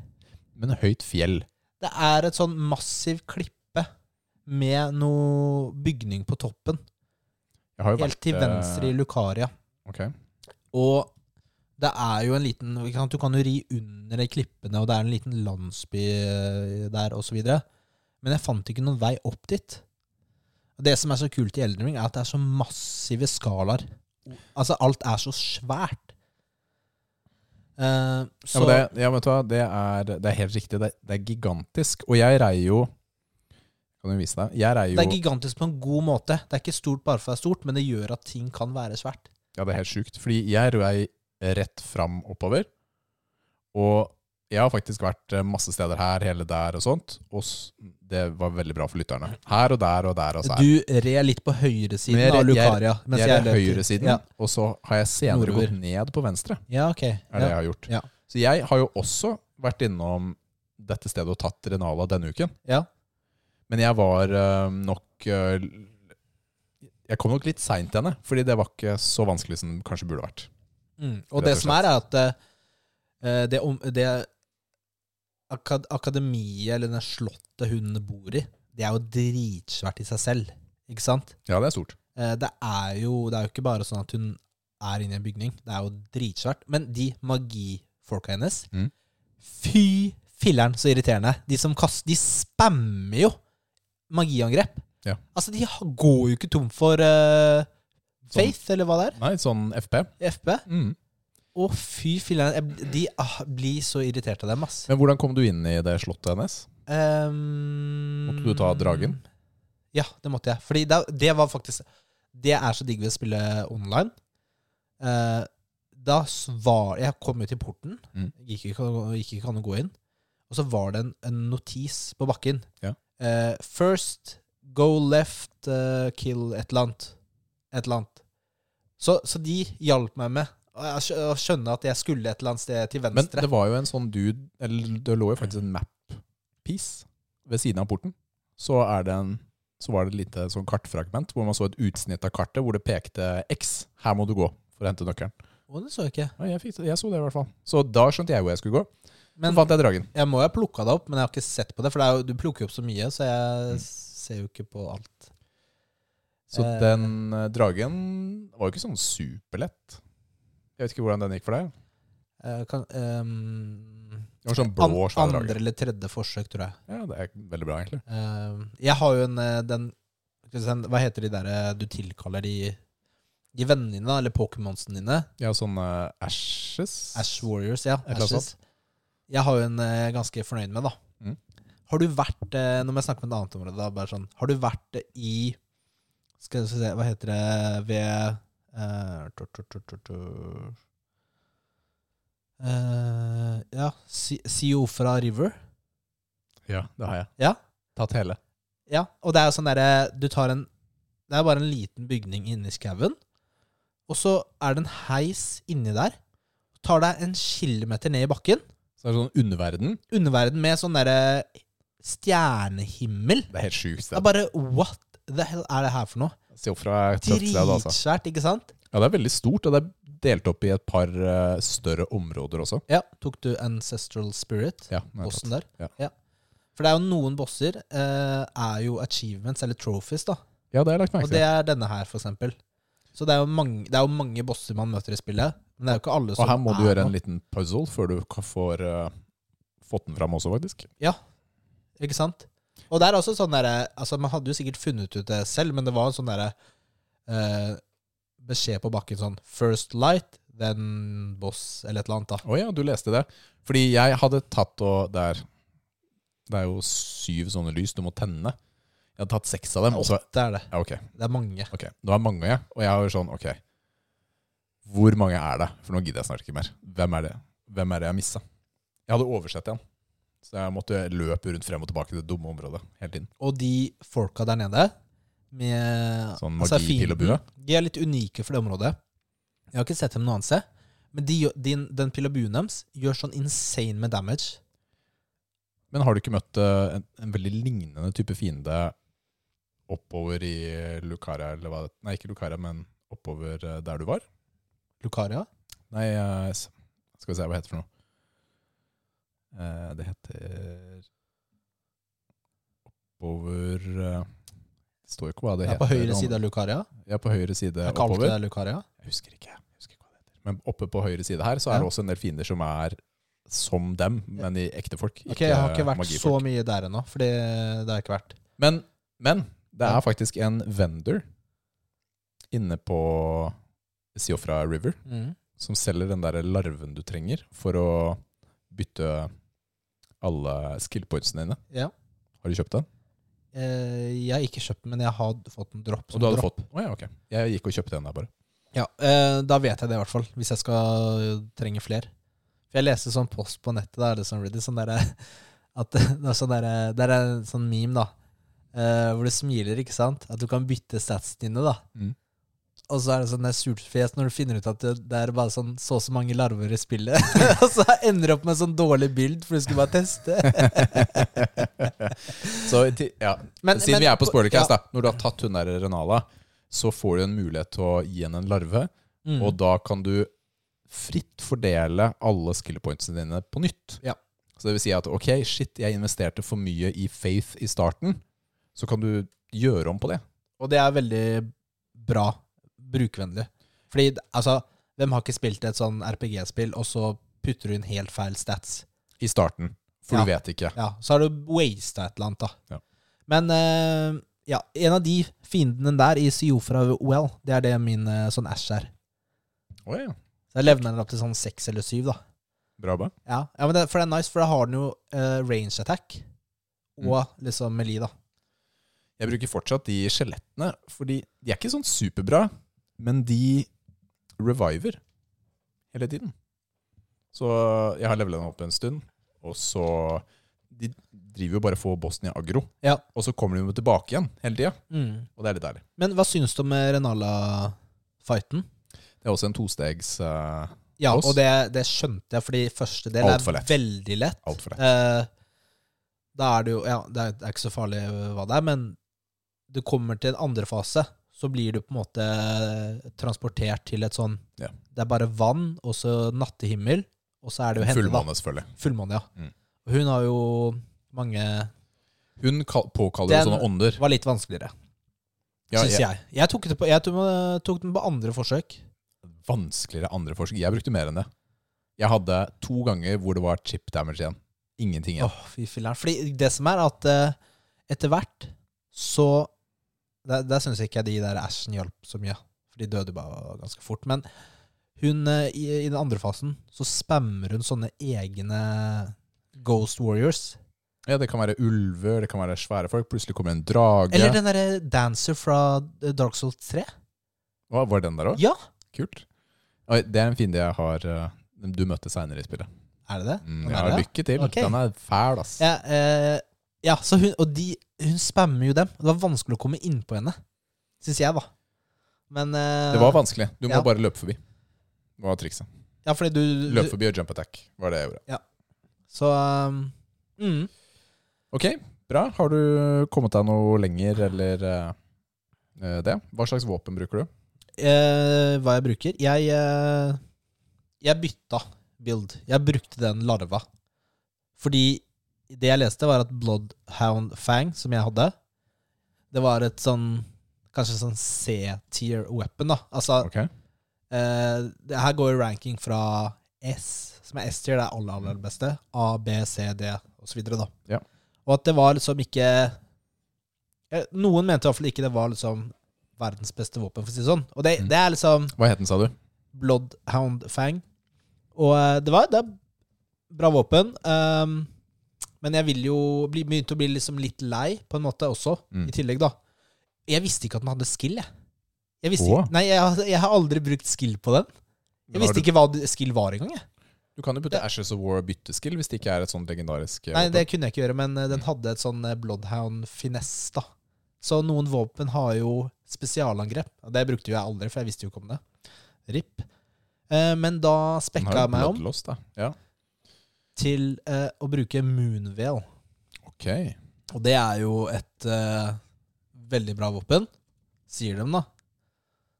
Men høyt fjell.
Det er et sånn massiv klippe med noe bygning på toppen.
Jeg har jo
Helt til
eh,
venstre i Lucaria.
ok.
Og det er jo en liten ikke sant? Du kan jo ri under de klippene, og det er en liten landsby eh, der, osv. Men jeg fant ikke noen vei opp dit. Og Det som er så kult i Elden Ring, er at det er så massive skalaer. Altså, alt er så svært. Eh,
Ja,
så
men det, ja, vet du hva, det er, det er helt riktig. Det, det er gigantisk. Og jeg rei jo Kan du vise deg? Jeg rei jo
det er gigantisk på en god måte. Det er ikke stort bare for det er stort, men det gjør at ting kan være svært.
Ja, det er helt sjukt. Fordi jeg rei rett fram oppover. Og jeg har faktisk vært eh, masse steder her, hele der og sånt. Og s- det var veldig bra for lytterne. Her og der og der og så her.
Du red litt på
Altså, Men
høyresiden
jeg
av
red- jeg-
Lucaria. mens
jeg er
løp til-
høyresiden,
Ja,
og så har jeg senere
Nordover.
gått ned på venstre.
ja ok.
er det
Ja.
jeg har gjort.
Ja.
Så jeg har jo også vært innom dette stedet og tatt Renala denne uken.
Ja.
Men jeg var eh, nok eh, Jeg kom nok litt seint til henne, fordi det var ikke så vanskelig som det kanskje burde vært.
Mm. Og
Rett
det
og
som er, er at eh, det, om, det akad akademiet, eller det slottet hun bor i, det er jo dritsvært i seg selv. Ikke sant?
Ja, det er stort.
Eh, det, er jo, det er jo ikke bare sånn at hun er inne i en bygning. Det er jo dritsvært. Men de magifolka hennes
Mm.
Fy filleren så irriterende. De som kaster De spammer jo magiangrep.
Ja.
Altså, de ha- går jo ikke tom for eh,
Sånn.
faith, eller hva det er.
Nei, sånn FP.
FP.
Mm.
Å, fy filleren. Jeg- De ah, blir så irritert av dem, ass.
Men hvordan kom du inn i det slottet hennes?
Ehm,
Måtte du ta dragen?
Ja, det måtte jeg. Fordi det, det var faktisk Det er så digg ved å spille online. Eh, da s- var Jeg kom ut i porten,
Mm.
gikk, ikke, an å- gikk ikke an å gå inn, og så var det en, en notis på bakken.
Ja.
Eh, first go left, eh, kill et eller annet. Et eller annet. Så, så de hjalp meg med å skj- å skjønne at jeg skulle et eller annet sted til
Men
venstre.
det var jo en sånn dude Eller det lå jo faktisk en map-piece ved siden av porten. Så, er det en, så var det et lite sånn kartfragment hvor man så et utsnitt av kartet hvor det pekte X. Her må du gå for å hente nøkkelen.
Å, det så jeg ikke.
Ja, jeg, fikk, jeg så det i hvert fall. Så da skjønte jeg hvor jeg skulle gå. Så
Men
fant jeg dragen.
Jeg må jo ha plukka det opp, men jeg har ikke sett på det. For det er jo, du plukker jo opp så mye, så jeg
Mm.
ser jo ikke på alt.
Så
Eh.
den eh, dragen var jo ikke sånn superlett. Jeg vet ikke hvordan den gikk for deg.
Eh, kan, ehm,
Det var sånn
an,
blå svær
andre
drage.
eller tredje forsøk, tror jeg.
Ja, det er veldig bra, egentlig.
Ehm, jeg har jo en eh, den skal vi se, Hva heter de der eh, du tilkaller de, de vennene dine, da, eller Pokémonsene dine?
Ja, sånn eh, ashes.
Ash Warriors, ja.
Et eller annet
Ashes. Jeg har jo en eh, ganske fornøyd med, da.
Mm.
Har du vært eh, Nå må jeg snakke om et annet område. da, bare sånn, Har du vært i Skal vi se, hva heter det Ved eh, tu, tu, tu, tu, tu. Eh, Ja, Si- Siofra River.
Ja, det har jeg.
Ja.
Tatt hele.
Ja, og det er jo sånn derre Du tar en Det er bare en liten bygning inni skauen, og så er det en heis inni der. Tar deg en kilometer ned i bakken.
Så er det sånn underverden.
underverden med sånn derre stjernehimmel.
Det er helt sjukt.
Det er bare what the hell er det her for noe?
Siofra er tøft sted, altså.
Dritsvært, ikke sant?
Ja, det er veldig stort, og det er delt opp i et par eh, større områder også.
Ja. Tok du Ancestral Spirit,
Ja, det er
bossen der?
Ja.
For det er jo noen bosser eh, er jo achievements, eller trophies, da.
tatt. ja det har jeg lagt
Og
merke
det
til.
er denne her, for eksempel. Så det er jo mange, det er jo mange bosser man møter i spillet. Men det er sånn- jo ikke alle
Og
som
her må du
er
gjøre en
noe.
liten puzzle før du ka- får eh, fått den fram også, faktisk.
Ikke sant? Og det er også sånn derre altså Man hadde jo sikkert funnet ut det selv, men det var en sånn derre eh, beskjed på bakken sånn First light, then boss, eller et eller annet, da.
Å ja, du leste det. Fordi jeg hadde tatt og Det er, det er jo syv sånne lys du må tenne. Jeg hadde tatt seks av dem. Og så,
Åtte er det.
ja, ok,
Det er mange.
ok. Det var mange, ja. Og jeg har jo sånn Ok, hvor mange er det? For nå gidder jeg snart ikke mer. Hvem er det Hvem er det jeg missa? Jeg hadde oversett igjen. Så jeg måtte løpe rundt frem og tilbake i det dumme området hele tiden.
Og de folka der nede med
Sånn
altså,
magi, pil og bue.
fienden, De er litt unike for det området. Jeg har ikke sett dem noe annet sted. Men de, gjør- din- den pil og buen deres gjør sånn insane med damage.
Men har du ikke møtt eh, en, en veldig lignende type fiende oppover i Lucaria, eller hva det Nei, ikke Lucaria, men oppover eh, der du var?
Lucaria?
Nei, eh, s- skal vi se hva det heter for noe. Eh, Det heter Oppover eh, Det står jo ikke hva det
Det er
heter.
på høyre side av Lucaria.
Ja, på høyre side
Jeg kalte
oppover.
det Lucaria.
Jeg husker ikke. Jeg husker ikke hva det heter. Men oppe på høyre side her så er
Ja.
det også en del fiender som er som dem, men i ekte folk.
Ok, Jeg har ikke vært så
magifolk.
mye der ennå, for det det har jeg ikke vært.
Men, men det
Ja.
er faktisk en vendor inne på Siofra River som selger den der larven du trenger for å bytte alle skill pointsene dine.
Ja.
Har du kjøpt den?
Eh, jeg har ikke kjøpt den, men jeg har fått en dropp.
Og du hadde fått den? Å ja, ok. Jeg gikk og kjøpte den der bare.
Ja, eh, da vet jeg det i hvert fall, hvis jeg skal eh, trenge flere. For jeg leste sånn post på nettet, da er det sånn Reddit, sånn derre <laughs> at det er sånn derre- Det er en sånn eh, meme, da, eh, hvor du smiler, ikke sant? At du kan bytte statsene dine, da.
Mm.
og så er det sånn der surfjes når du finner ut at det det er bare sånn så og så mange larver i spillet. <laughs> og så ender du opp med en sånn dårlig bild, for du skulle bare teste.
Så ti- ja.
Men-
Siden
men-
vi er på spoilercast,
ja.
da. Når du har tatt hun der Renala, så får du en mulighet til å gi henne en larve.
Mm.
Og da kan du fritt fordele alle skill pointsene dine på nytt.
Ja.
Så det vil si at ok, shit, jeg investerte for mye i faith i starten. Så kan du gjøre om på det.
Og det er veldig bra brukervennlig. Fordi, altså, hvem har ikke spilt et sånn RPG-spill, og så putter du inn helt feil stats?
I starten. For
Ja.
du vet ikke.
Ja, så har du wasta et eller annet, da.
Ja.
Men eh, ja, en av de fiendene der i Siofra OL, det er det min eh, sånn æsj er.
Å ja.
Så jeg levner den opp til sånn seks eller syv, da.
Bra, bra.
Ja, ja men det, For det er nice, for da har den jo eh, range attack og liksom melee, da.
Jeg bruker fortsatt de skjelettene, fordi de er ikke sånn superbra, men de reviver hele tiden. Så jeg har levelet den opp en stund, og så De driver jo bare og får Bosnia agro,
Ja.
og så kommer de jo tilbake igjen hele tida,
Mm.
og det er litt deilig.
Men hva syns du om eh, Renala-fighten?
Det er også en tostegs uh,
Ja,
Oss?
og det, det skjønte jeg, fordi første del
Alt for
er
lett.
veldig lett.
altfor lett.
Eh, da er det jo Ja, det er, det er ikke så farlig eh, hva det er, men du kommer til en andre fase, så blir du på en måte eh, transportert til et sånn
Ja.
Det er bare vann, og så nattehimmel, og så er det jo henne, da.
Fullmåne, selvfølgelig.
Fullmåne, ja.
Mm.
Og Hun har jo mange
Hun kal påkaller
Den-
jo sånne ånder.
Var litt vanskeligere,
Ja,
syns
jeg,
jeg. Jeg tok, det på, jeg tok, tok den på andre forsøk.
vanskeligere andre forsøk. Jeg brukte mer enn det. Jeg hadde to ganger hvor det var chip damage igjen. Ingenting igjen.
Åh, fy filler'n. Fordi det som er at eh, etter hvert så Der, der syns ikke jeg de der æsjen hjalp så mye. For de døde jo bare ganske fort. Men hun eh, i, i den andre fasen så spammer hun sånne egne Ghost Warriors.
Ja, Det kan være ulver, det kan være svære folk. Plutselig kommer en drage.
Eller den derre Dancer fra eh, Dark Souls 3.
Hva, var den der òg?
Ja!
Kult. Oi, det er en fiende jeg har eh, Du møtte seinere i spillet.
Er det det?
Mm,
Den
ja,
er det, ja.
lykke til.
Ok.
Den er fæl, ass.
Ja, eh, ja så hun, og de, hun spammer jo dem. Det var vanskelig å komme innpå henne, syns jeg, da. Men eh,
Det var vanskelig. Du må
Ja.
bare løpe forbi. Det var trikset.
Ja, fordi du,
Løpe forbi og jump attack var det jeg gjorde.
Så um, mm.
Ok, bra. Har du kommet deg noe lenger, eller eh, eh, det? Hva slags våpen bruker du?
eh, Hva jeg bruker? Jeg, eh, jeg bytta build. Jeg brukte den larva. Fordi det jeg leste, var at Bloodhound Fang, som jeg hadde, det var et sånn Kanskje sånn C-tier weapon, da. Altså,
Ok.
eh, det her går i ranking fra S, som er S-tier, det er aller, aller beste, A, B, C, D, og så videre, da.
Mm. Ja.
Og at det var liksom ikke eh, Noen mente i hvert fall ikke det var liksom verdens beste våpen, for å si det sånn. Og det,
Mm.
det er liksom
Hva het den, sa du?
Bloodhound Fang. Og eh, det var det er bra våpen. ehm, men jeg vil jo bli, begynte å bli liksom litt lei, på en måte, også,
Mm.
i tillegg, da. Jeg visste ikke at den hadde skill, jeg. Jeg, visste,
Åh.
ikke- nei, jeg, har- jeg har aldri brukt skill på den. Jeg
Men har
visste
du-
ikke hva det- skill var engang. jeg.
Du kan jo putte Ashes of War og bytteskill hvis det ikke er et sånt legendarisk eh,
Nei,
våpen.
det kunne jeg ikke gjøre, men
Mm.
eh, den hadde et sånn eh, Bloodhound finesse, da. Så noen våpen har jo spesialangrep. og Det brukte jo jeg aldri, for jeg visste jo ikke om det. RIP. Eh, Men da
Den har
spekka
jo
jeg meg om.
bloodloss, da. Ja,
til eh, å bruke moonveil.
ok.
Og det er jo et eh, veldig bra våpen, sier de, da.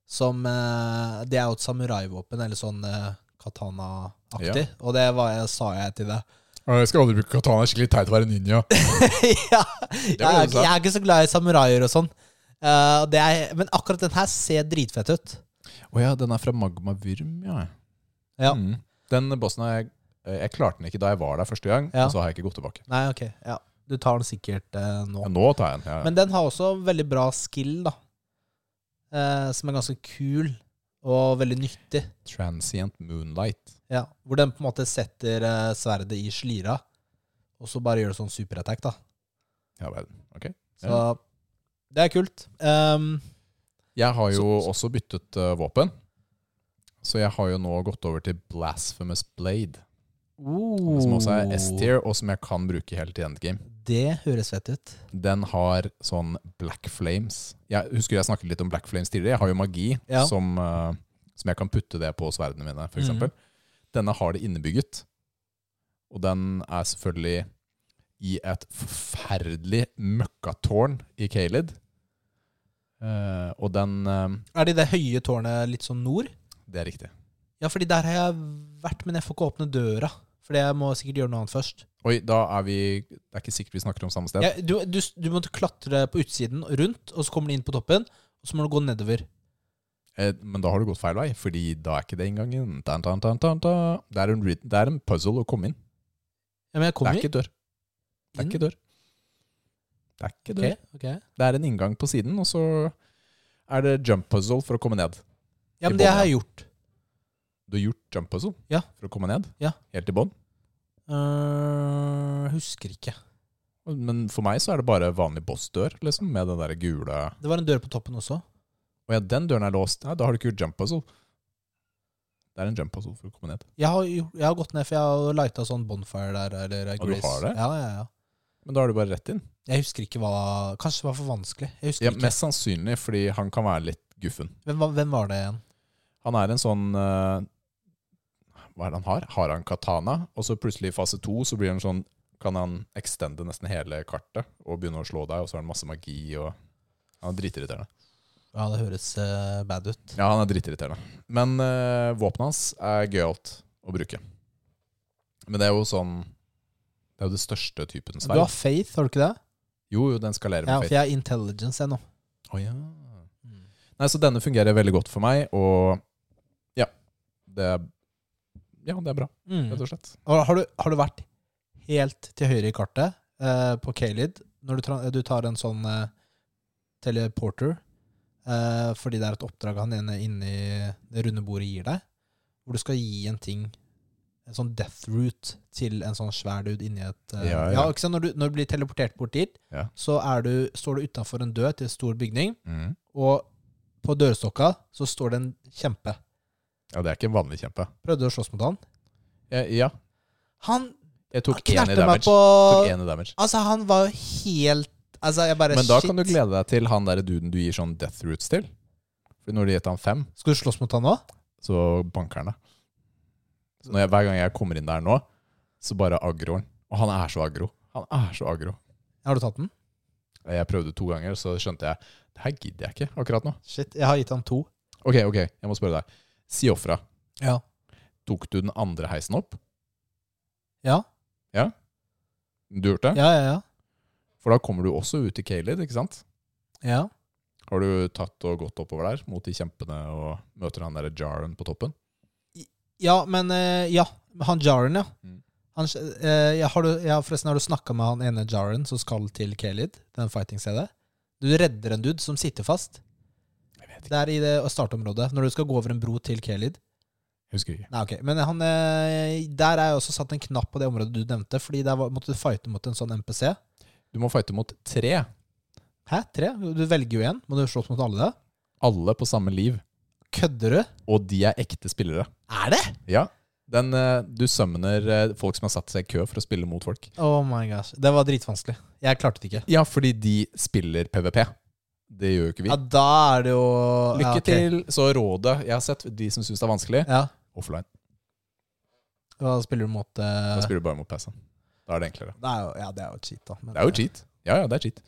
Som eh, Det er jo et samuraivåpen, eller sånn eh, katana-aktig. Og det var jeg, sa jeg til
<laughs>
deg.
Jeg skal aldri bruke katana. Det er skikkelig teit å være ninja.
ja, jeg,
Det var
er, ikke-
det du sa.
jeg er ikke så glad i samuraier og sånn. Eh, og det er, men akkurat den her ser dritfett ut.
Å ja, den er fra Magma Vyrm, ja.
Ja.
Mm. Den bossen har jeg eh, Jeg klarte den ikke da jeg var der første gang,
Ja.
og så har jeg ikke gått tilbake.
Nei, ok. Ja. Du tar den sikkert eh, nå.
Ja, nå tar jeg den. Ja.
Men den har også veldig bra skill, da. Eh, som er ganske kul, og veldig nyttig.
Transient Moonlight.
Ja, Hvor den på en måte setter eh, sverdet i slira, og så bare gjør det sånn superattack, da.
Ja, verden. Ok.
Så det er kult. Ehm,
Jeg har jo
Så-
også byttet eh, våpen. Så jeg har jo nå gått over til Blasphemous Blade, som også er S-tier, og som jeg kan bruke helt i endgame.
oh, Det høres fett ut.
Den har sånn black flames. Jeg husker jeg snakket litt om black flames tidligere. Jeg har jo magi
Ja.
som, eh, som jeg kan putte det på sverdene mine, f.eks.
Mhm.
eksempel Denne har det innebygget. Og den er selvfølgelig i et forferdelig møkkatårn i Kaled. Eh, og den eh,
Er det i det høye tårnet litt sånn nord?
Det er riktig.
Ja, fordi der har jeg vært, men jeg får ikke åpne døra. Fordi jeg må sikkert gjøre noe annet først.
Oi, da er vi Det er ikke sikkert vi snakker om samme sted.
Jeg, du, du, du måtte klatre på utsiden og rundt, og så kommer du inn på toppen. Og så må du gå nedover.
Eh, Men da har du gått feil vei, fordi da er ikke det inngangen. Dun, dun, dun, dun, dun. Det, er en, re- det er en puzzle å komme inn.
Ja, men jeg
Det
kommer
er ikke dør. Det er
inn.
ikke dør. Det er ikke dør.
Ok, ok.
Det er en inngang på siden, og så er det jump puzzle for å komme ned.
Ja,
I
men det
bånn,
har jeg gjort.
Du har gjort jump puzzle
Ja.
for å komme ned,
Ja.
helt til bånn.
Øh, husker ikke.
Men for meg så er det bare vanlig bossdør, liksom, med den der gule
Det var en dør på toppen også.
Å ja, den døren er låst. Nei, da har du ikke gjort jump puzzle. Det er en jump puzzle for å komme ned.
Jeg har, gjort- jeg har gått ned, for jeg har lighta sånn bonfire der. Eller
du har det?
Ja, ja, ja.
Men da er du bare rett inn.
Jeg husker ikke hva Kanskje det var for vanskelig. Jeg husker
Ja,
ikke.
mest sannsynlig fordi han kan være litt guffen.
Hvem, var- hvem var det igjen?
Han er en sånn eh, Hva er det han har? Har han katana? Og så plutselig i fase to så blir han sånn Kan han extende nesten hele kartet og begynne å slå deg, og så har han masse magi og Han er dritirriterende.
Ja, det høres eh, bad ut.
Ja, han er dritirriterende. Men eh, våpenet hans er gøyalt å bruke. Men det er jo sånn Det er jo det største typen
Du har
sverd.
faith, har du ikke det?
Jo, jo, den skalerer
Ja,
med
for jeg har intelligence jeg nå. Mm.
faith. Å, ja. Nei, så denne fungerer veldig godt for meg, og ja. Det er, ja, det er bra,
Mm.
rett og slett.
Og Har, du, har du vært helt til høyre i kartet eh, på Kalid når du, tra- du tar en sånn eh, teleporter eh, fordi det er et oppdrag han ene inni det runde bordet gir deg, hvor du skal gi en ting en sånn death root til en sånn svær dude inni et eh,
Ja, ja.
ikke sant? Når, du, når du blir teleportert bort dit,
Ja.
så er du, står du utafor en dør til en stor bygning,
Mm.
og på dørstokka så står det en kjempe.
Ja, det er ikke en vanlig kjempe.
Prøvde du å slåss mot han?
Ja, ja.
Han
jeg tok
han
én i
knerte meg
damage.
på
Tok én i damage.
Altså, han var jo helt Altså, jeg bare
Men da
shit.
kan du glede deg til han der duden du gir sånn death roots til. For når du gir han fem,
Skal du slåss mot han nå?
så banker han deg. Så når jeg, hver gang jeg kommer inn der nå, så bare aggroer han. Og han er så aggro. Han er så aggro.
Har du tatt den?
Jeg prøvde to ganger, så skjønte jeg det her gidder jeg ikke akkurat nå.
Shit, jeg har gitt han to.
Ok, ok, jeg må spørre deg. Si ofra.
Ja.
Tok du den andre heisen opp?
Ja,
Du gjorde det?
ja, ja. ja.
For da kommer du også ut i Kaled, ikke sant?
ja.
Har du tatt og gått oppover der mot de kjempene og møter han der Jaren på toppen?
ja men eh, Ja. Han Jaren, ja.
Mm.
Han, eh, ja, har du, ja forresten, har du snakka med han ene Jaren som skal til Kalid? Den fighting-stedet? Du redder en dude som sitter fast.
Jeg vet
Det er i det startområdet, når du skal gå over en bro til Kalid.
Jeg husker ikke.
Nei, ok. Men han, eh, der er jeg også satt en knapp på det området du nevnte, fordi der var, måtte du fighte mot en sånn MPC.
Du må fighte mot tre.
Hæ? Tre? Du velger jo én. Må du slåss mot alle det?
Alle på samme liv.
Kødder du?
Og de er ekte spillere.
Er det?
Ja. Den, eh, du summoner eh, folk som har satt seg i kø for å spille mot folk.
Oh my gosh. Det var dritvanskelig. Jeg klarte det ikke.
Ja, fordi de spiller PVP. Det gjør jo ikke vi.
Ja, da er det jo
Lykke
ja, ok.
til. Så rådet jeg har sett, de som syns det er vanskelig,
Ja.
offline.
Da spiller du mot eh,
Da spiller du bare mot PC-en. Da er det enklere.
det er jo, Ja, det er jo cheat, da. Men,
Det er jo cheat. Ja, ja, det er cheat.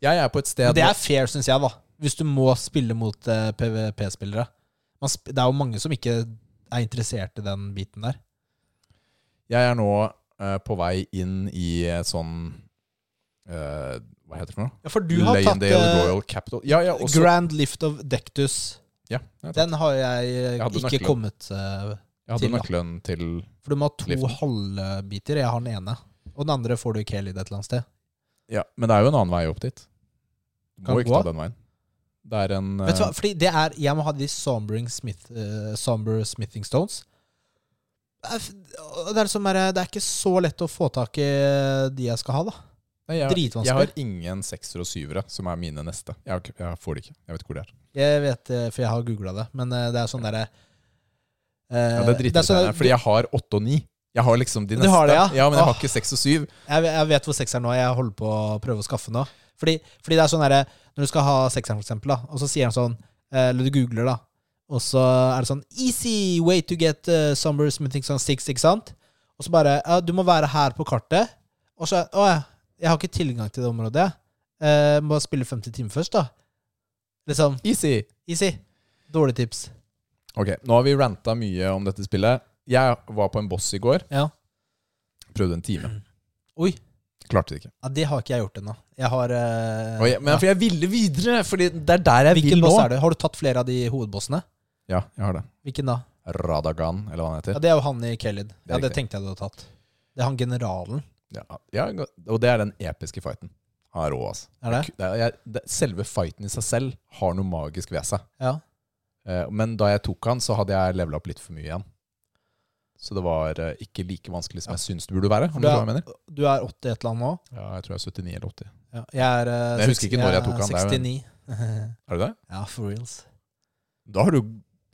Jeg er på et sted
Men det
nå-
er fair, syns jeg, da. Hvis du må spille mot eh, PVP-spillere. Man sp- Det er jo mange som ikke er interessert i den biten der.
Jeg er nå eh, på vei inn i et sånn eh, Hva heter det for noe?
Ja, for
Leyendale
eh,
Royal Capital. Ja, ja, også,
Grand Lift of Dectus.
ja, jeg,
Den har jeg, eh,
Jeg hadde
ikke
nøkkelen.
kommet eh,
jeg hadde
til, da.
nøkkelen til
For du må ha to
Liften.
halvbiter. Jeg har den ene. Og den andre får du ikke helt i det et eller annet sted.
Ja, men det er jo en annen vei opp dit. Du
Kan
må
du
ikke
gå?
ta den veien. Det er en
Vet du hva,
eh,
fordi det er Jeg må ha de sombering smith, eh, somber smithing stones. Det er, f- og det, er liksom bare, det er ikke så lett å få tak i eh, de jeg skal ha, da.
nei, jeg,
Dritvanskelig.
jeg har ingen seksere og syvere som er mine neste. Jeg, har ikke- jeg får det ikke. Jeg vet ikke hvor det er.
Jeg vet det, for jeg har googla det. Men eh, det er sånn derre eh,
Ja, det er
sånn
drittirriterende,
der-
fordi jeg har åtte og ni. Jeg har liksom de
Du
neste.
har det, ja?
men jeg
Åh.
har ikke seks og syv.
Jeg, jeg vet hvor sekseren nå er. Jeg holder på å prøve å skaffe nå. Fordi, fordi det er sånn derre Når du skal ha sekseren, for eksempel, da, og så sier han sånn eh, Eller du googler, da, og så er det sånn Easy way to get uh, summer smithing on six, ikke sant? Og så bare Ja, du må være her på kartet. Og så Å ja, jeg har ikke tilgang til det området, jeg. Eh, må spille 50 timer først, da. Liksom.
Easy.
Easy. Dårlig tips.
Ok, nå har vi ranta mye om dette spillet. Jeg var på en boss i går.
Ja.
Prøvde en time.
Oi.
Klarte det ikke.
Ja, det har ikke jeg gjort ennå. Jeg har eh,
Og jeg, men for jeg ville videre, Fordi det er der jeg
Hvilken
vil
boss
nå.
er det? Har du tatt flere av de hovedbossene?
Ja, jeg har det.
Hvilken da?
Radagan, eller hva han
Ja,
heter.
Det er jo han i Kelid.
Det er
Ja, det
riktig.
tenkte jeg du hadde tatt. Det er han generalen.
Ja, ja, og det er den episke fighten. Han er rå, altså.
Er det?
Jeg ku- er- jeg, det, selve fighten i seg selv har noe magisk ved seg.
Ja.
Eh, Men da jeg tok han, så hadde jeg levela opp litt for mye igjen. Så det var eh, ikke like vanskelig som jeg syns det burde være.
Du
Om du
er-
skjønner hva jeg mener
Du er 80 et eller annet nå?
Ja, jeg tror jeg er 79 eller 80.
Ja. Jeg er eh,
Jeg husker ikke når jeg tok han, det er jo
69.
Er du det?
<laughs> ja, for reals.
Da har du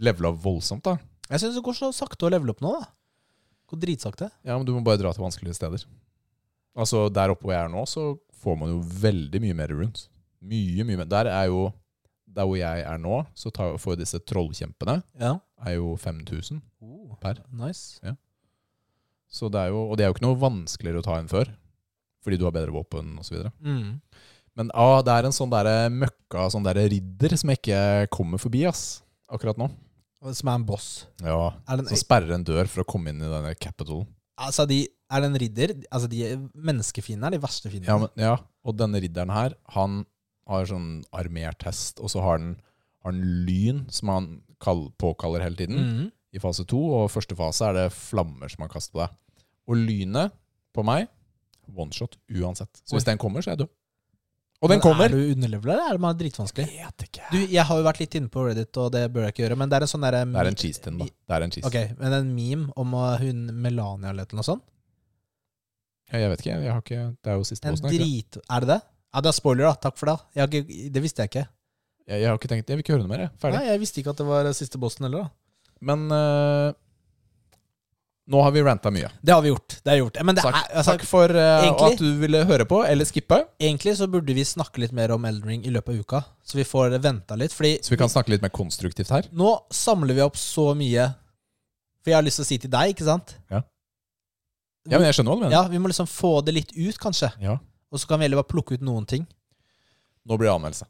levela voldsomt, da.
Jeg syns det går så sakte å levele opp nå, da. Går dritsakte.
Ja, men du må bare dra til vanskelige steder. Altså, der oppe hvor jeg er nå, så får man jo veldig mye mer runes. Mye, mye mer. Der er jo Der hvor jeg er nå, så tar, får jo disse trollkjempene
Ja.
er jo 5000. Per.
Oh, Nice.
Så det er jo, og det er jo ikke noe vanskeligere å ta enn før. Fordi du har bedre våpen osv.
Mm.
Men ah, det er en sånn derre møkka sånn derre ridder som jeg ikke kommer forbi, ass. Akkurat nå.
Og Som er en boss.
Ja.
Er det
Som
en,
sperrer en dør for å komme inn i denne capitalen.
altså, de, er det en ridder? Altså, de menneskefiendene er de verste fiendene.
Ja, men, ja, og denne ridderen her, han har sånn armert hest, og så har han, har han lyn, som han kall, påkaller hele tiden,
Mhm.
i fase to. Og første fase er det flammer som han kaster på deg. Og lynet på meg, one shot uansett. Så
Oi.
hvis den kommer, så er jeg død. Og den
Men
kommer!
Er du underleveler, eller er det bare dritvanskelig?
Jeg vet ikke.
Du, jeg har jo vært litt inne på Reddit, og det bør jeg ikke gjøre, men det er en sånn derre
Det er en cheese tin, da. Det er en cheese.
Ok, men en meme om uh, hun Melania eller noe sånt?
Ja, jeg vet ikke, jeg har ikke Det er jo siste
En
bossen. er det ikke det?
drit... Er det det? Ja, det er spoiler, da. Takk for det. Jeg har ikke, det visste jeg ikke.
Jeg, jeg har ikke tenkt Jeg vil ikke høre noe mer, jeg. Ferdig.
Nei, Jeg visste ikke at det var uh, siste bossen heller. da.
Men eh, nå har vi ranta mye.
Det har vi gjort. det har vi gjort. Men det
Takk,
er, altså,
takk for eh,
egentlig-
at du ville høre på, eller skippe.
Egentlig så burde vi snakke litt mer om Elden Ring i løpet av uka, så vi får venta litt. Fordi
Så vi kan snakke litt mer konstruktivt her.
nå samler vi opp så mye For jeg har lyst til å si til deg, ikke sant?
Ja, men jeg skjønner hva du mener.
Mm. Ja, Vi må liksom få det litt ut, kanskje.
Ja.
Og så kan vi heller bare plukke ut noen ting.
Nå blir det anmeldelse.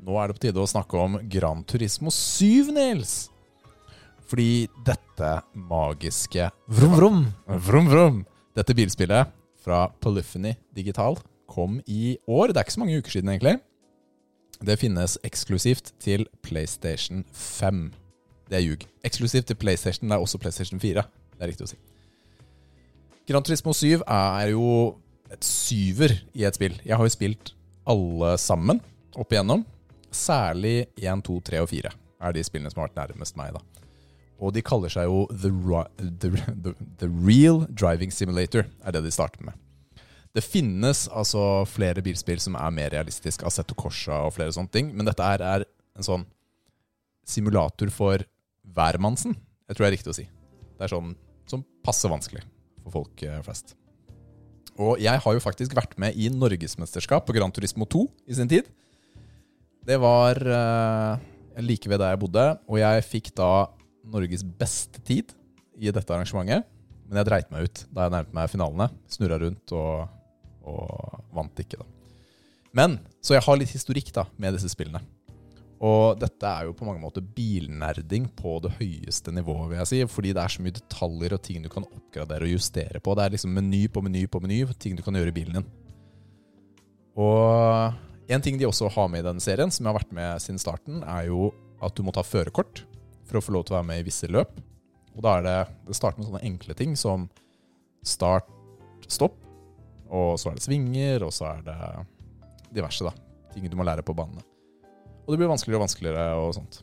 Nå er det på tide å snakke om Gran Turismo 7, Nils. Fordi dette magiske
Vrom, vrom.
Vrom, vrom. Dette bilspillet fra Polyphony Digital kom i år. Det er ikke så mange uker siden, egentlig. Det finnes eksklusivt til PlayStation 5. Det er ljug. Eksklusivt til PlayStation. Det er også PlayStation 4. Det er riktig å si. Gran Turismo 7 er jo et syver i et spill. Jeg har jo spilt alle sammen opp igjennom. Særlig 1, 2, 3 og 4 er de spillene som har vært nærmest meg, da. Og de kaller seg jo The, Ri- the, the, the Real Driving Simulator, er det de starter med. Det finnes altså flere bilspill som er mer realistiske, Assetto Corsa og flere sånne ting, men dette her er en sånn simulator for hvermannsen. Jeg tror det er riktig å si. Det er sånn som passer vanskelig for folk eh, flest. Og jeg har jo faktisk vært med i norgesmesterskap på Gran Turismo 2 i sin tid. Det var eh, like ved der jeg bodde, og jeg fikk da Norges beste tid i dette arrangementet. Men jeg dreit meg ut da jeg nærmet meg finalene. Snurra rundt og, og vant ikke, da. Men, Så jeg har litt historikk da med disse spillene. Og dette er jo på mange måter bilnerding på det høyeste nivået, vil jeg si. Fordi det er så mye detaljer og ting du kan oppgradere og justere på. Det er liksom meny på meny på meny, ting du kan gjøre i bilen din. Og en ting de også har med i denne serien, som jeg har vært med siden starten, er jo at du må ta førerkort for å få lov til å være med i visse løp. Og da er det Det starter med sånne enkle ting som start, stopp, og så er det svinger, og så er det diverse, da. Ting du må lære på banene. Og det blir vanskeligere og vanskeligere og sånt.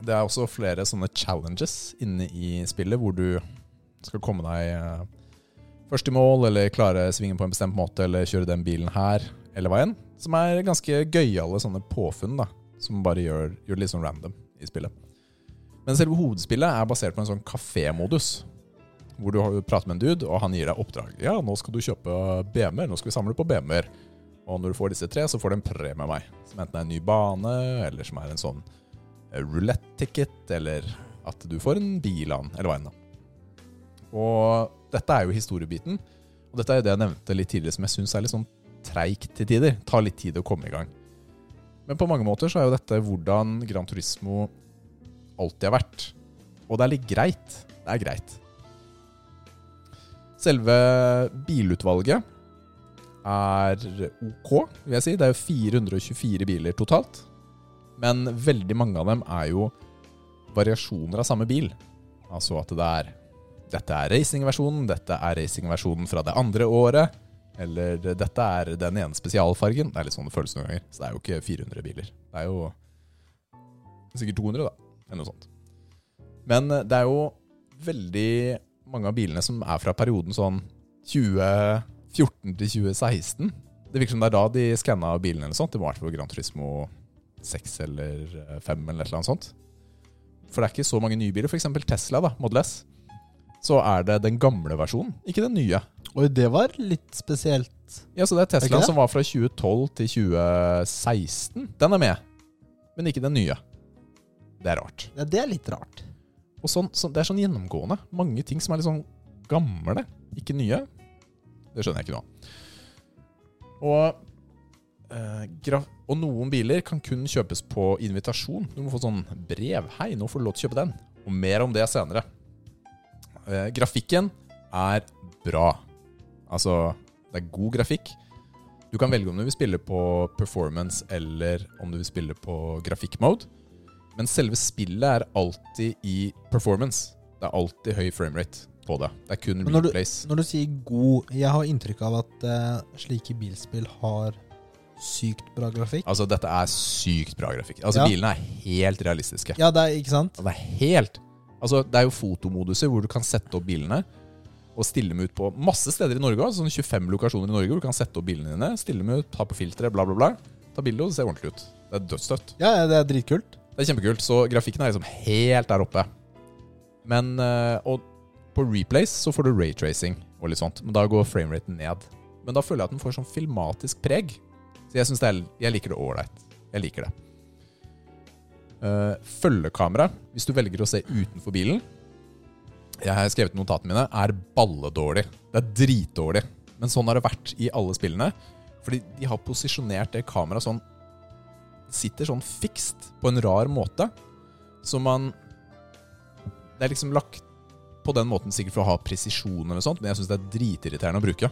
Det er også flere sånne challenges inne i spillet hvor du skal komme deg eh, først i mål, eller klare svingen på en bestemt måte, eller kjøre den bilen her, eller hva enn. Som er ganske gøyale sånne påfunn, da. Som bare gjør, gjør det litt sånn random i spillet. Men selve hovedspillet er basert på en sånn kafémodus. Hvor du har- prater med en dude, og han gir deg oppdrag. Ja, nå skal du kjøpe BM-er. Nå skal vi samle på BM-er. Og når du får disse tre, så får du en premie av meg. Som enten er en ny bane, eller som er en sånn eh, roulette-ticket, eller at du får en bil av den, eller hva enn. da. Og dette er jo historiebiten. Og dette er jo det jeg nevnte litt tidligere, som jeg syns er litt sånn treigt til tider. Tar litt tid å komme i gang. Men på mange måter så er jo dette hvordan Gran Turismo alltid har vært. Og det er litt greit. Det er greit. Selve bilutvalget er ok, vil jeg si. Det er jo 424 biler totalt. Men veldig mange av dem er jo variasjoner av samme bil. Altså at det er Dette er racingversjonen, dette er racingversjonen fra det andre året. Eller eh, dette er den ene spesialfargen. Det er litt sånn det føles noen ganger. Så det er jo ikke 400 biler. Det er jo sikkert 200, da. Eller noe sånt. Men eh, det er jo veldig mange av bilene som er fra perioden sånn 20 14 til 2016. Det virker som det er da de skanna bilene eller sånt. Det må ha vært på Gran Turismo 6 eller eh, 5 eller et eller annet sånt. For det er ikke så mange nye biler. F.eks. Tesla, da, Model S. Så er det den gamle versjonen, ikke den nye.
Oi, det var litt spesielt.
Ja, så
Er
det er
ikke
Teslaen
det?
som var fra 2012 til 2016. Den er med, men ikke den nye. Det er rart.
Ja, det er litt rart.
Og sånn, sånn, Det er sånn gjennomgående. Mange ting som er litt sånn gamle, ikke nye. Det skjønner jeg ikke noe av. Og, eh, gra- og noen biler kan kun kjøpes på invitasjon. Du må få sånn brev. 'Hei, nå får du lov til å kjøpe den.' Og mer om det senere. Eh, grafikken er bra. Altså, det er god grafikk. Du kan velge om du vil spille på performance eller om du vil spille på grafikkmode. Men selve spillet er alltid i performance. Det er alltid høy framerate på det. Det er kun
Men når du-
replays.
Når du sier god, jeg har inntrykk av at eh, slike bilspill har sykt bra grafikk.
Altså, dette er sykt bra grafikk. Altså,
Ja.
Bilene er helt realistiske.
Ja, det er ikke sant?
Og Det er helt Altså, det er jo fotomoduser hvor du kan sette opp bilene og stille dem ut på masse steder i Norge. også, Sånn 25 lokasjoner i Norge hvor du kan sette opp bilene dine, stille dem ut, ta på filteret, bla, bla, bla. Ta bilde, og det ser ordentlig ut. Det er dødsstøtt.
Ja, ja, det er dritkult.
Det er kjempekult. Så grafikken er liksom helt der oppe. Men eh, Og på replays så får du raytracing og litt sånt. Men da går frameraten ned. Men da føler jeg at den får sånn filmatisk preg. Så jeg synes det er Jeg liker det ålreit. Jeg liker det. Eh, følgekamera, hvis du velger å se utenfor bilen Jeg har skrevet i notatene mine, er balledårlig. Det er dritdårlig. Men sånn har det vært i alle spillene. Fordi de har posisjonert det kameraet sånn sitter sånn fikst på en rar måte. Så man Det er liksom lagt på den måten sikkert for å ha presisjon, eller noe sånt, men jeg syns det er dritirriterende å bruke.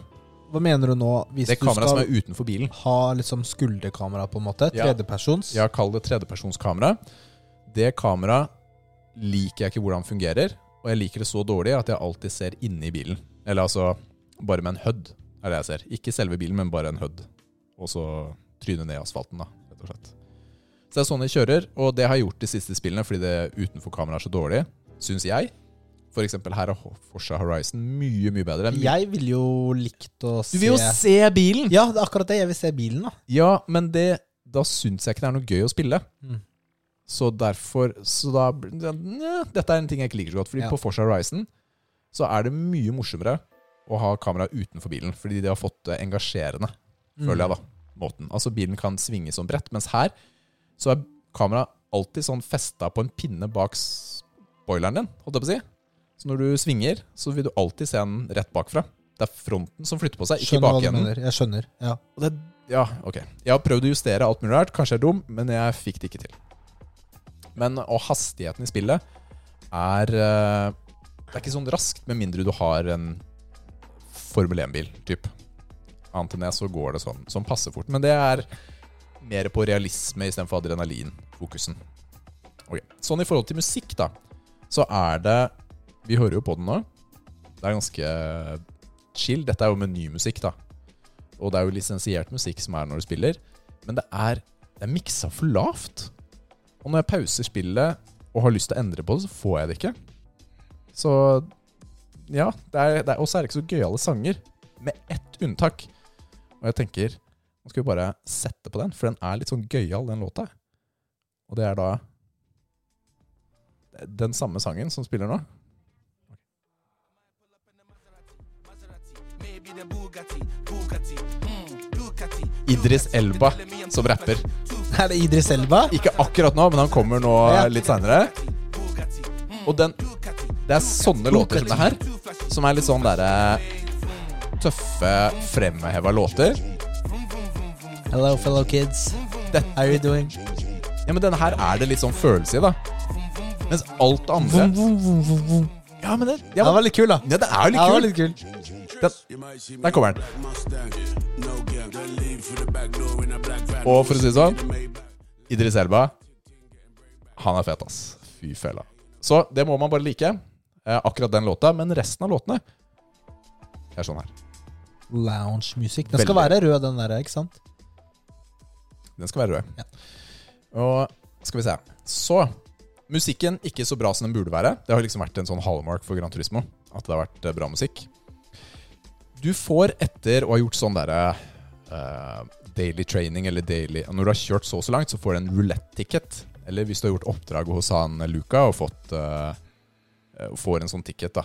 Hva mener du nå hvis
Det
du
kameraet som
skal
er utenfor bilen.
ha liksom skulderkamera, på en måte?
Ja.
Tredjepersons?
Ja, kall det tredjepersonskamera. Det kameraet liker jeg ikke hvordan fungerer, og jeg liker det så dårlig at jeg alltid ser inni bilen. Eller altså bare med en HUD, er det jeg ser. Ikke selve bilen, men bare en HUD. Og så tryne ned i asfalten, da, rett og slett. Så det er sånn jeg kjører, og det har jeg gjort de siste spillene fordi det utenfor kamera er så dårlig, syns jeg. For eksempel her er Forsa Horizon mye, mye bedre. enn-
Jeg ville jo likt å se
Du vil jo se bilen!
Ja, det er akkurat det. Jeg vil se bilen, da.
Ja, men det, da syns jeg ikke det er noe gøy å spille.
Mm.
Så derfor så da, nja, Dette er en ting jeg ikke liker så godt. Fordi
Ja.
på Forza Horizon så er det mye morsommere å ha kamera utenfor bilen. Fordi de har fått det engasjerende,
Mm.
føler jeg, da. Måten. Altså bilen kan svinge som brett. Mens her så er kameraet alltid sånn festa på en pinne bak spoileren din, holdt jeg på å si. Så når du svinger, så vil du alltid se den rett bakfra. Det er fronten som flytter på seg, ikke
Skjønner hva du
bakenden.
mener. Jeg skjønner. Ja.
Og det, ja, ok. Jeg har prøvd å justere alt mulig rart. Kanskje jeg er dum, men jeg fikk det ikke til. Men Og hastigheten i spillet er eh, Det er ikke sånn raskt, med mindre du har en Formel 1-bil, typ. Annet enn det, så går det sånn, sånn passe fort. Men det er mer på realisme istedenfor adrenalin-fokusen. Ok. Sånn i forhold til musikk, da, så er det Vi hører jo på den nå. Det er ganske chill. Dette er jo menymusikk, da. Og det er jo lisensiert musikk som er når du spiller. Men det er, det er miksa for lavt. Og når jeg pauser spillet og har lyst til å endre på det, så får jeg det ikke. Så ja. Det er, det er, og så er det ikke så gøyale sanger, med ett unntak. Og jeg tenker Nå skal vi bare sette på den, for den er litt sånn gøyal, den låta. Og det er da den samme sangen som spiller nå. Idris Elba som rapper.
Er det Idris Elba?
<laughs> Ikke akkurat nå, men han kommer nå
Ja.
litt seinere. Og den Det er sånne låter som det her, som er litt sånn derre tøffe, fremheva låter.
Hello, fellow kids.
Dette,
How are you doing?
ja, men denne her er det litt sånn følelse i, da. Mens alt det andre
Vroom, vroom, vroom, vroom, vroom.
Ja, men det, ja,
Den var litt kul, da.
ja, det er
Ja, den
jo
var
litt kult.
litt kul.
Den, der kommer den. Og for å si det sånn Idris Elba Han er fet, ass. Fy fella. Så det må man bare like. Eh, akkurat den låta. Men resten av låtene er sånn her.
Lounge music. Den skal
Veldig.
være rød, den der, ikke sant?
Den skal være rød.
Ja.
Og skal vi se Så musikken ikke så bra som den burde være. Det har liksom vært en sånn hallmark for Gran Turismo. At det har vært eh, bra musikk. Du får etter å ha gjort sånn derre eh, daily training eller daily Når du har kjørt så og så langt, så får du en roulette-ticket. Eller hvis du har gjort oppdrag hos han Luca og fått eh, eh, får en sånn ticket, da.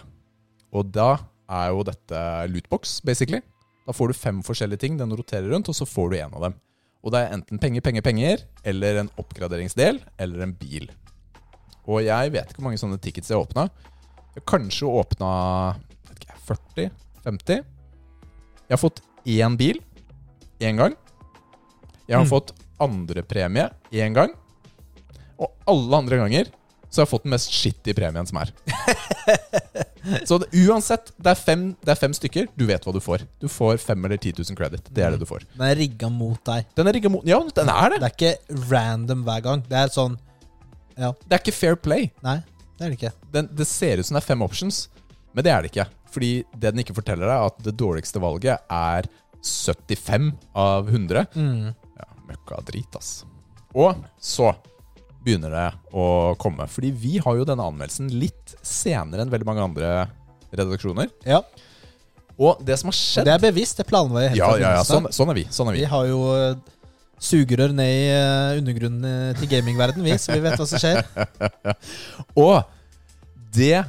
Og da er jo dette lootbox, basically. Da får du fem forskjellige ting, den roterer rundt, og så får du en av dem. Og det er enten penger, penger, penger, eller en oppgraderingsdel, eller en bil. Og jeg vet ikke hvor mange sånne tickets jeg åpna. Jeg har kanskje åpna 40-50. Jeg har fått én bil én gang. Jeg har
Mm.
fått andrepremie én gang. Og alle andre ganger så har jeg fått den mest shitty premien som er. så det, uansett, det er, fem, det er fem stykker. Du vet hva du får. Du får 5 eller 10 000 credit. Det er det du får.
Den er rigga mot deg.
Den er rigga mot Ja, den er
Det
det!
er ikke random hver gang. Det er sånn Ja.
Det er ikke fair play.
Nei, det er det ikke.
Den, det ser ut som det er fem options, men det er det ikke. Fordi det den ikke forteller deg, er at det dårligste valget er 75 av 100.
Mm.
Ja, møkka drit, ass. Og så begynner det å komme. Fordi vi har jo denne anmeldelsen litt senere enn veldig mange andre redaksjoner.
Ja.
Og det som
Og
har skjedd
Det er bevisst. Det planla jeg helt
Ja,
fra
ja, ja,
begynnelsen av.
sånn, sånn er vi. Sånn er vi.
Vi har jo eh, sugerør ned i eh, undergrunnen eh, til gamingverden, vi, så vi vet hva som skjer.
Og det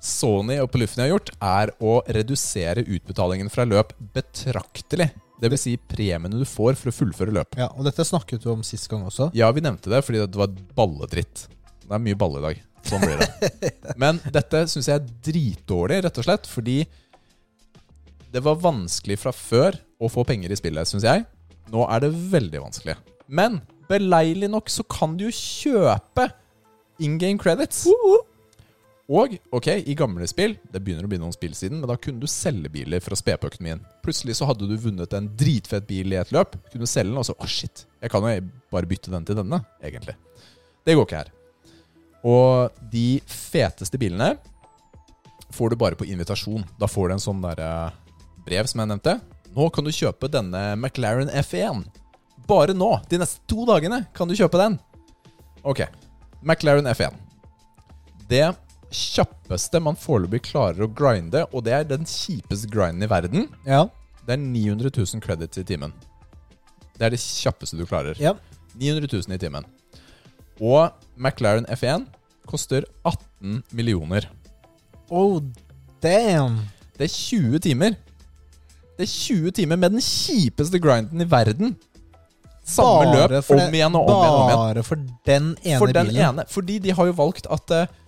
Sony og Polyphony har gjort, er å redusere utbetalingen fra løp betraktelig. Dvs. Si premiene du får for å fullføre
<laughs>
løp.
Ja, Og dette snakket du om sist gang også.
Ja, vi nevnte det fordi det var balledritt. Det er mye balle i dag. Sånn blir det. Men dette syns jeg er dritdårlig, rett og slett, fordi det var vanskelig fra før å få penger i spillet, syns jeg. Nå er det veldig vanskelig. Men beleilig nok så kan du jo kjøpe in game credits. Og ok, i gamle spill, det begynner å bli noen spill siden, men da kunne du selge biler for å spe på økonomien. Plutselig så hadde du vunnet en dritfett bil i et løp, kunne selge den, og så å shit, jeg kan jo bare bytte den til denne, egentlig. Det går ikke her. Og de feteste bilene får du bare på invitasjon. Da får du en sånn der eh, brev som jeg nevnte. Nå kan du kjøpe denne McLaren F1. Bare nå, de neste to dagene, kan du kjøpe den. Ok, McLaren F1. Det kjappeste man foreløpig klarer å grinde, og det er den kjipeste grinden i verden,
Ja,
det er 900 000 credits i timen. Det er det kjappeste du klarer.
ja.
900 000 i timen. Og McLaren F1 koster 18 millioner.
Oh, damn!
Det er 20 timer. Det er 20 timer med den kjipeste grinden i verden. Samme
Bare
løp
for det-
om igjen og om igjen. og om igjen.
Bare for den ene
For den
bilen.
ene. Fordi de har jo valgt at eh,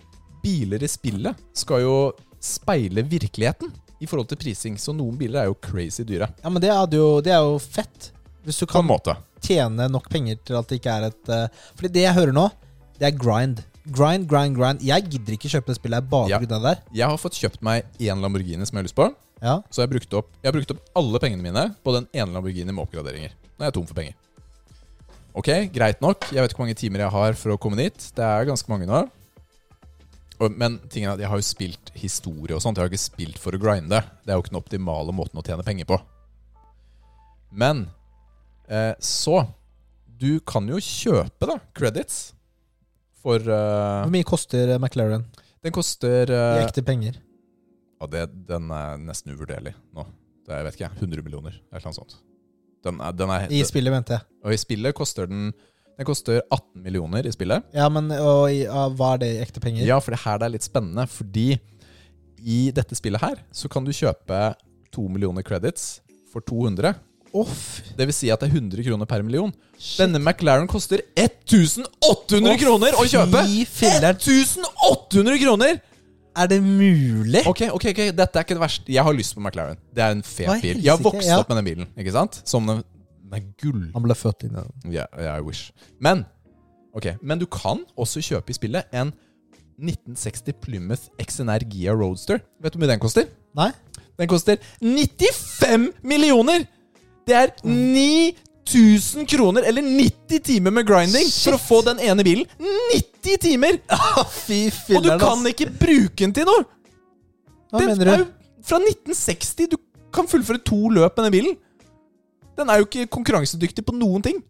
biler i spillet skal jo speile virkeligheten i forhold til prising. Så noen biler er jo crazy dyre.
Ja, men det, hadde jo, det er jo fett. Hvis du
På en
kan
måte.
tjene nok penger til at det ikke er et eh, Fordi det jeg hører nå, det er grind. Grind, grind, grind. Jeg gidder ikke kjøpe det spillet her bare
Ja.
pga. det der.
Jeg har fått kjøpt meg én Lamborghini som jeg har lyst på.
Ja.
Så jeg har brukt opp, jeg har brukt opp alle pengene mine på den ene Lamborghini med oppgraderinger. Nå er jeg tom for penger. Ok, greit nok. Jeg vet ikke hvor mange timer jeg har for å komme dit. Det er ganske mange nå. Og- Men tingen er at jeg har jo spilt historie og sånt. Jeg har ikke spilt for å grinde. Det er jo ikke den optimale måten å tjene penger på. Men eh, så Du kan jo kjøpe da credits for eh,
Hvor mye koster eh, McLaren
Den koster
i
eh,
ekte penger?
ja, det, Den er nesten uvurderlig nå. Det er, jeg vet ikke, 100 millioner eller noe sånt. Den er, den er,
I spillet, mente jeg.
og i spillet koster den Den koster 18 millioner i spillet.
Ja, men og, i- ja, hva er det i ekte penger?
Ja, for det her det er litt spennende, fordi i dette spillet her så kan du kjøpe 2 millioner credits for 200.
Off!
Det vil si at det er 100 kroner per million. Denne McLaren koster 1800 kroner å kjøpe!
Fy filleren!
1800 kroner!
Er det mulig?
Ok, ok, ok, dette er ikke det verste. Jeg har lyst på McLaren. Det er en
Hva
fet
i
bil. Jeg har
helsike,
vokst
ja.
opp med den bilen, ikke sant? Som den, den er gull.
Han ble født inn i den.
Ja, ja, I wish. Men ok, men du kan også kjøpe i spillet en 1960 Plymouth XNR Gia Roadster. Vet du hvor mye den koster?
Nei?
Den koster 95 millioner! Det er 9000 kroner, eller 90 timer med grinding, for å få den ene bilen. 90
<laughs>
timer!
Fy
Og du
filleren,
kan ikke bruke den til noe!
Hva
Den
mener
er
du?
jo fra 1960. Du kan fullføre to løp med den bilen. Den er jo ikke konkurransedyktig på noen ting. Du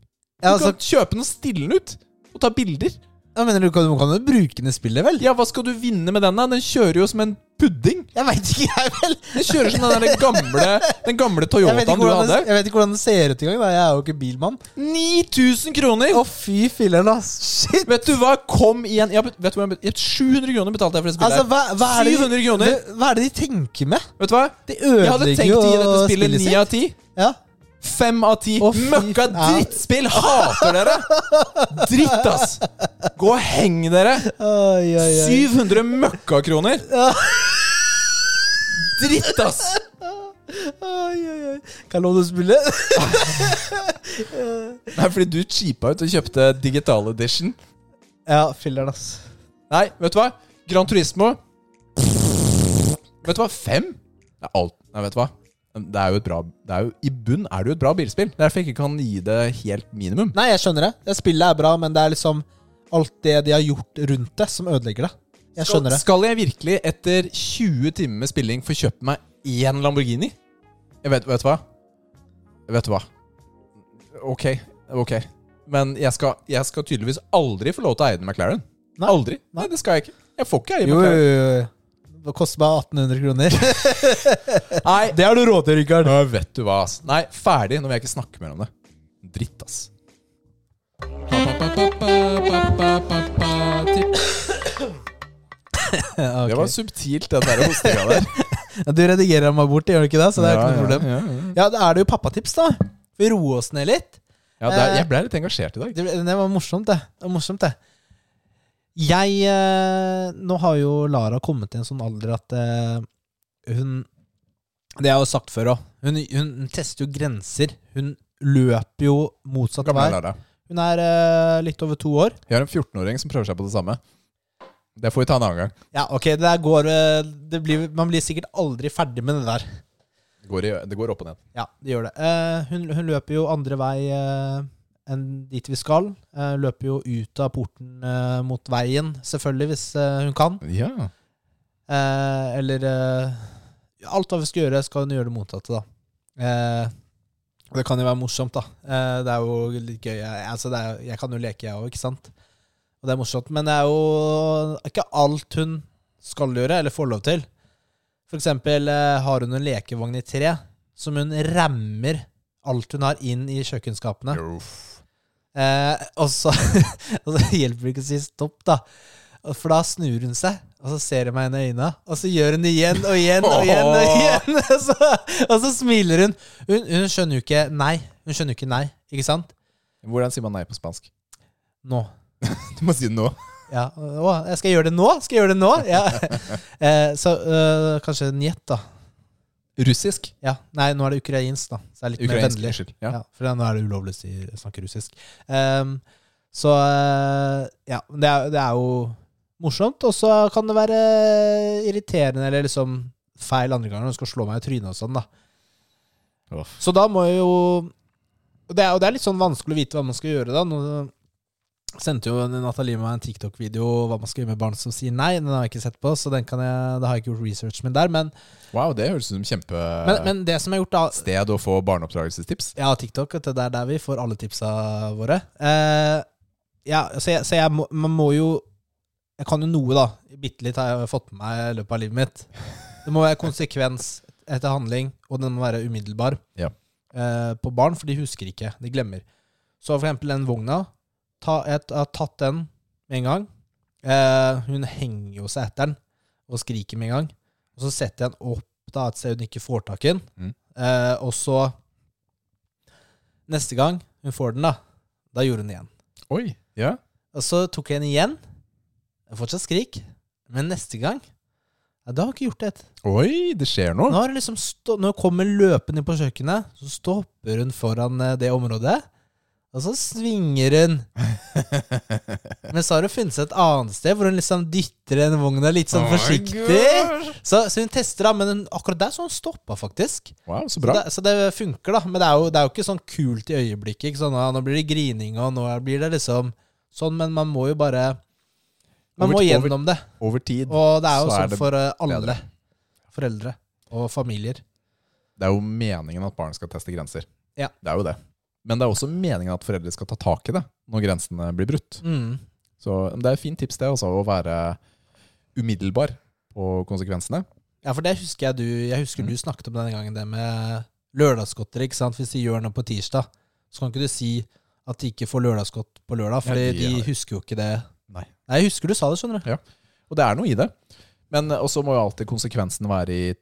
Ja, altså,
kan kjøpe den og stille den ut. Og ta bilder.
hva mener du, kan, du kan jo bruke den i spillet, vel?
Ja, hva skal du vinne med den, da? Den kjører jo som en pudding.
Jeg veit ikke, jeg, vel!
Den kjører som den, der gamle, den gamle
Jeg vet,
Toyotaen
ikke
du
hvordan det,
hadde.
jeg vet ikke hvordan det ser ut engang. da. Jeg er jo ikke bilmann.
9000 kroner!
Å, fy filleren, ass! Shit!
Vet du hva? Kom igjen. Jeg, bet- vet du hva jeg bet- jeg, 700 kroner betalte jeg for det spillet.
Altså,
her.
hva, hva, er det
700 kroner.
de, hva er det de tenker med?
Vet du hva?
De
Jeg hadde
ødelegger
tenkt
jo
å gi dette spillet
spillet
9
sitt.
av
Ja.
10. 5 av 10.
Å, fy
Møkka
faen.
drittspill! Hater dere! Dritt, ass! Gå og heng dere!
Oi, oi, oi.
700 møkkakroner! Dritt, ass!
Oi, oi, oi. Kan jeg love deg å spille?
Nei, fordi du cheapa ut og kjøpte digital edition.
<laughs> ja, filler'n, ass.
Nei, vet du hva? Gran Turismo Vet du hva? Fem? Det er alt. Nei, vet du hva? Det er jo et bra det er jo, I bunn er det jo et bra bilspill. Derfor jeg ikke kan gi det helt minimum.
Nei, jeg skjønner det. Det Spillet er bra, men det er liksom alt det de har gjort rundt det, som ødelegger det. Jeg skjønner det.
Skal jeg virkelig etter 20 timer med spilling få kjøpt meg én Lamborghini? Jeg vet, vet du hva? Vet du hva? Ok, ok. Men jeg skal, jeg skal tydeligvis aldri få lov til å eie den McLaren.
Nei.
Aldri.
Nei.
Nei, det skal jeg ikke. Jeg får ikke eie
Jo, jo,
McLaren.
jo. jo. Det koster bare 1800 kroner. <laughs>
Nei,
Det har du råd til, Rikard.
Ja, vet du hva, ass. Nei, ferdig. Nå vil jeg ikke snakke mer om det. Dritt, ass. Det
Ja, ok.
var subtilt, den der hostinga der.
Ja, Du redigerer meg bort, gjør du ikke <laughs> det? Så det er ikke noe problem.
Ja, ja, ja.
Ja, da er det jo pappatips, da. Vi roer oss ned litt.
Ja, det er,
Eh.
jeg ble litt engasjert i dag.
Det, ble- det var morsomt, det. det, var morsomt, det. Jeg eh, Nå har jo Lara kommet i en sånn alder at eh, hun Det har jeg jo sagt før òg. Hun, hun tester jo grenser. Hun løper jo motsatt
Gamle
vei.
Lara.
Hun er eh, litt over to år.
Jeg har en 14-åring som prøver seg på det samme. Det får vi ta en annen gang.
Ja, ok, det der går eh, det blir, Man blir sikkert aldri ferdig med det der.
Det går, i, det går opp og ned.
Ja, det gjør det. Eh, hun, hun løper jo andre vei eh, enn dit vi skal. Eh, løper jo ut av porten eh, mot veien, selvfølgelig, hvis eh, hun kan.
Ja.
Eh, eller eh, Alt hva vi skal gjøre, skal hun gjøre det motsatte, da. Eh, det kan jo være morsomt, da. Eh, det er jo litt gøy. Jeg, altså, det er, jeg kan jo leke, jeg òg, ikke sant? Og det er morsomt. Men det er jo ikke alt hun skal gjøre, eller får lov til. For eksempel eh, har hun en lekevogn i tre som hun rammer alt hun har, inn i kjøkkenskapene.
Uff.
Eh, og, så, <laughs> og så hjelper det ikke å si stopp, da. Og For da snur hun seg, og så ser hun meg inn i øynene. Og så gjør hun det igjen og igjen og igjen. Og igjen og så, og så smiler hun. hun. Hun skjønner jo ikke nei. Hun skjønner jo ikke nei, ikke sant?
Hvordan sier man nei på spansk?
Nå.
Du må si det nå.
Ja. Å, jeg skal gjøre det nå? Skal jeg gjøre det nå? Ja. Eh, så eh, kanskje njet, da.
Russisk.
Ja. Nei, nå er det ukrainsk, da. Så det er litt mer
Ukrainsk.
vennlig.
Unnskyld. Ja.
Ja, for nå er det ulovlig å si- snakke russisk. Ehm, så eh, ja, det er, det er jo morsomt, og så kan det være irriterende eller liksom feil andre ganger når du skal slå meg i trynet og sånn, da.
Uff.
Så da må jeg jo og det, er, og det er litt sånn vanskelig å vite hva man skal gjøre, da. Nå sendte jo Natalie meg en TikTok-video hva man skal gjøre med barn som sier nei. Den har jeg ikke sett på, så den kan jeg, da har jeg ikke gjort research med der. Men,
Wow, det høres ut som
men,
kjempested
men det som jeg har gjort da
å få barneoppdragelsestips.
Ja, TikTok. vet du, Det er der vi får alle tipsa våre. Eh, ja, så jeg, så jeg må, man må jo Jeg kan jo noe, da. Bitte litt har jeg fått med meg i løpet av livet mitt. Det må være konsekvens etter handling, og den må være umiddelbar
Ja.
eh, på barn, for de husker ikke. De glemmer. Så for eksempel den vogna. Ta, jeg har tatt den med en gang. Eh, hun henger jo seg etter den og skriker med en gang. Og så setter jeg den opp da, et sted hun ikke får tak i den.
Mm.
Eh, og så Neste gang hun får den, da, da gjorde hun det igjen.
Oi. Ja.
Og så tok jeg den igjen. Det er Fortsatt skrik. Men neste gang ja, Da har hun ikke gjort det.
Oi, det skjer
Nå
noe.
har hun liksom stå, når hun kommer løpende inn på kjøkkenet, så stopper hun foran eh, det området. Og så svinger hun. Men så har hun funnet seg et annet sted hvor hun liksom dytter den vogna litt sånn
Oh my
forsiktig.
gosh.
Så, så hun tester, da. Men hun, akkurat der så hun stoppa, faktisk.
Wow, så
Så
bra.
det, så det funker, da. Men det er jo, det er jo ikke sånn kult i øyeblikket. Ikke sånn, «Ah, nå blir det grining, og nå blir det liksom sånn. Men man må jo bare Man
Over-
må
over-
gjennom det.
Over tid.
Og det er jo
så er
sånn
det
for eh, alle
bedre.
foreldre og familier.
Det er jo meningen at barn skal teste grenser.
Ja.
Det er jo det. Men det er også meningen at foreldre skal ta tak i det når grensene blir brutt.
Mm.
Så det er et fint tips det også, å være umiddelbar på konsekvensene.
Ja, for det husker jeg du Jeg husker
Mm.
du snakket om denne gangen, det med lørdagsgodteri. ikke sant? Hvis de gjør noe på tirsdag, så kan ikke du si at de ikke får lørdagsgodt på lørdag, for
Ja, de
de
er-
husker jo ikke det.
Nei.
Nei, jeg husker du sa det, skjønner du.
Og det er noe i det. Men også må jo alltid konsekvensen være i,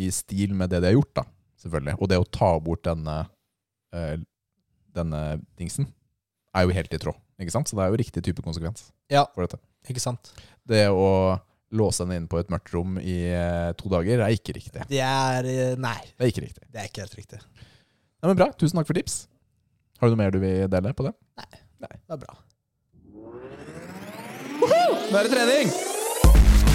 i stil med det de har gjort, da. Selvfølgelig. Og det å ta bort denne, eh, denne dingsen er jo helt i tråd. Ikke sant? Så det er jo riktig type konsekvens
Ja.
for dette.
Ikke sant?
Det å låse henne inn på et mørkt rom i eh, to dager er ikke riktig.
Det er eh, Nei,
Det er ikke riktig.
det er ikke helt riktig.
Nei, men bra. Tusen takk for tips. Har du noe mer du vil dele på det?
Det er bra.
Nå er det trening!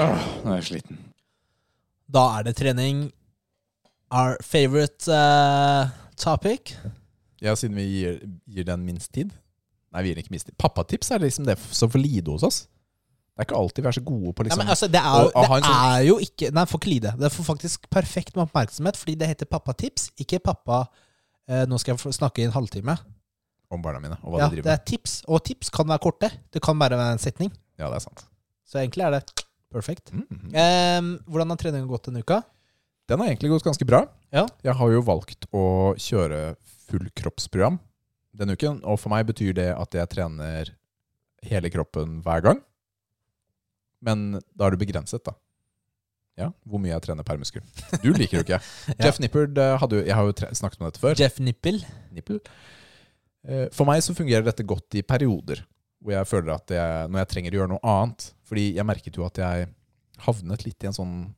Åh, nå er jeg sliten.
Da er det trening. Our favorite eh, topic.
Ja, siden vi gir, gir den minst tid. Nei, vi gir den ikke minst tid. Pappatips er liksom det som får lide hos oss. Det er ikke alltid vi er så gode på
Ja,
liksom
men altså, det er, jo-
Å- å ha en
det
sånn-
er jo ikke Nei, får ikke lide. Det får faktisk perfekt med oppmerksomhet, fordi det heter pappatips, ikke pappa eh, Nå skal jeg få snakke i en halvtime.
om barna mine og hva
Ja,
de
det
driver med.
er tips, og tips kan være korte. Det kan bare være en setning.
Ja, det er sant.
Så egentlig er det perfekt.
Mhm.
Ehm, hvordan har treningen gått denne uka?
Den har egentlig gått ganske bra.
Ja.
Jeg har jo valgt å kjøre fullkroppsprogram denne uken, og for meg betyr det at jeg trener hele kroppen hver gang. Men da er det begrenset, da. Ja, hvor mye jeg trener per muskel. Du liker jo ikke. Jeff Nippard eh, hadde jo Jeg har jo tre snakket om dette før.
Jeff Nippel.
Nippel. Eh, For meg så fungerer dette godt i perioder, hvor jeg føler at jeg, når jeg trenger å gjøre noe annet Fordi jeg merket jo at jeg havnet litt i en sånn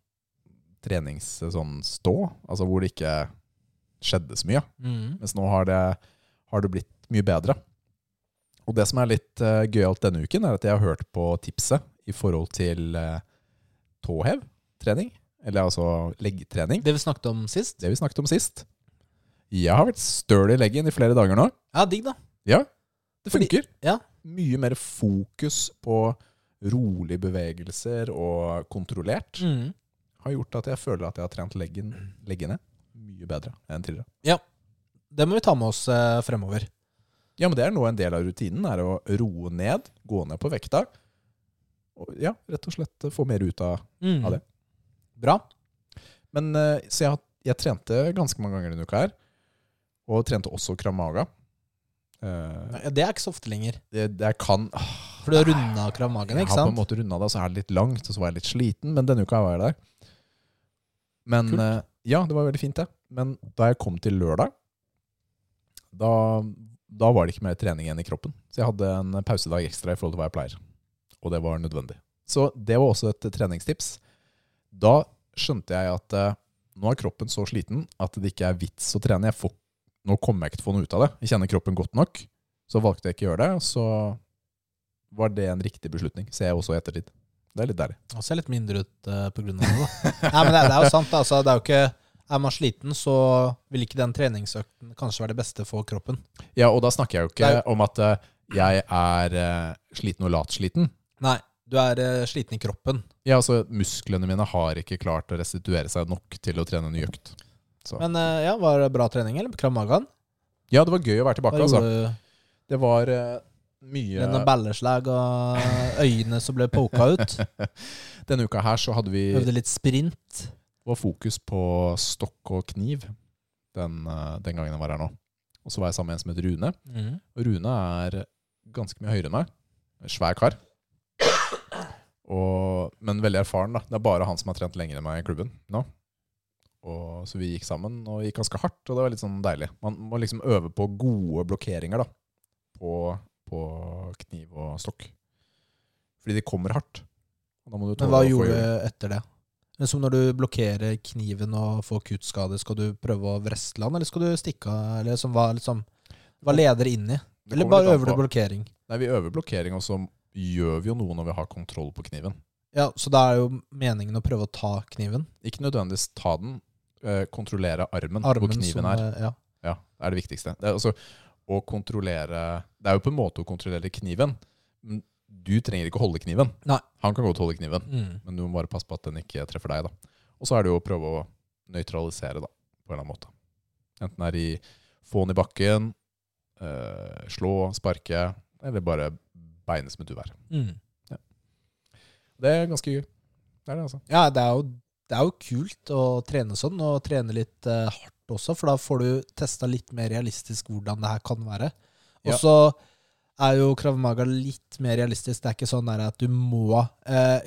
treningsstå, sånn stå, altså hvor det ikke skjedde så mye.
Mm.
Mens nå har det, har det blitt mye bedre. Og det som er litt uh, gøyalt denne uken, er at jeg har hørt på tipset i forhold til eh, tåhev, trening, eller altså leggtrening.
Det vi snakket om sist.
Det vi snakket om sist. Jeg har vært støl i leggen i flere dager nå.
Ja, digg, da.
Ja, det
Fordi-
funker.
ja.
Mye mer fokus på rolige bevegelser og kontrollert
Mm.
har gjort at jeg føler at jeg har trent leggen, leggene mye bedre enn tidligere.
Det må vi ta med oss eh, fremover.
Ja, men det er nå en del av rutinen, er å roe ned, gå ned på vekta. Og ja, rett og slett få mer ut av
Mm.
Ja, det.
Bra.
Men eh, så jeg, har- jeg trente ganske mange ganger denne uka her, og trente også kramaga. Eh,
Ja, det er ikke så ofte lenger.
det, det jeg kan
For du har runda krav magen, ikke
Jeg har på en
sant?
måte runda det, og så er det litt langt, og så var jeg litt sliten, men denne uka var jeg der. Men
Kult.
eh, Ja, det var veldig fint, det. Men da jeg kom til lørdag, da, da var det ikke mer trening igjen i kroppen. Så jeg hadde en pausedag ekstra i forhold til hva jeg pleier. Og det var nødvendig. Så det var også et treningstips. Da skjønte jeg at eh, nå er kroppen så sliten at det ikke er vits å trene. Jeg får, nå kommer jeg ikke til å få noe ut av det. Jeg kjenner kroppen godt nok. Så valgte jeg ikke å gjøre det, og så var det en riktig beslutning. Ser jeg også i ettertid. Det er litt deilig.
Og ser litt mindre ut eh, på grunn av det, da. Nei, men det, det er jo sant, altså. Det er jo ikke Er man sliten, så vil ikke den treningsøkten kanskje være det beste for kroppen.
Ja, og da snakker jeg jo ikke
Det er
om at eh, jeg er eh, sliten og latsliten.
Nei, du er eh, sliten i kroppen.
Ja, altså Musklene mine har ikke klart å restituere seg nok til å trene en ny økt. Så.
Men eh, ja, var det bra trening, eller? Krav Magan?
Ja, det var gøy å være
Hva
tilbake,
gjorde eh,
altså.
du?
Det var eh, mye
Noen balleslag og øyne som ble poka
<laughs>
ut?
Denne uka her så hadde vi
Øvde litt sprint?
var fokus på stokk og kniv den, eh, den gangen jeg var her nå. Og så var jeg sammen med en som het Rune.
Mhm.
Og Rune er ganske mye høyere enn meg. En Svær kar. Og, men veldig erfaren, da. Det er bare han som har trent lenger enn meg i klubben nå. Og, så vi gikk sammen, og gikk ganske hardt, og det var litt sånn deilig. Man må liksom øve på gode blokkeringer, da. På, på kniv og stokk. Fordi de kommer hardt. Og da må du
Men hva
tåle å få
gjorde
hjul.
du etter det? Men Som når du blokkerer kniven og får kuttskade, skal du prøve å vrestle han, eller skal du stikke av? Eller som hva, liksom, hva leder inn i?
Det
Eller
kommer litt
bare
an
øver du
på-
blokkering?
Nei, vi øver blokkering, og så gjør vi jo noe når vi har kontroll på kniven.
Ja, Så da er jo meningen å prøve å ta kniven.
Ikke nødvendigvis ta den, eh, kontrollere armen, hvor
Armen
kniven
som
er.
eh, ja.
Ja, det er det viktigste. Det er, altså, å kontrollere, det er jo på en måte å kontrollere kniven. men Du trenger ikke å holde kniven.
Nei.
Han kan godt holde kniven,
Mm.
men du må bare passe på at den ikke treffer deg. da. Og så er det jo å prøve å nøytralisere da, på en eller annen måte. Enten det er i få den i bakken, eh, slå, sparke, eller bare beine som et uvær.
Mm.
Det er ganske gøy. Det er det, altså.
Ja, det er, jo, det er jo kult å trene sånn, og trene litt eh, hardt også, for da får du testa litt mer realistisk hvordan det her kan være. Og
Ja.
så er jo Krav Maga litt mer realistisk. Det er ikke sånn der at du må eh,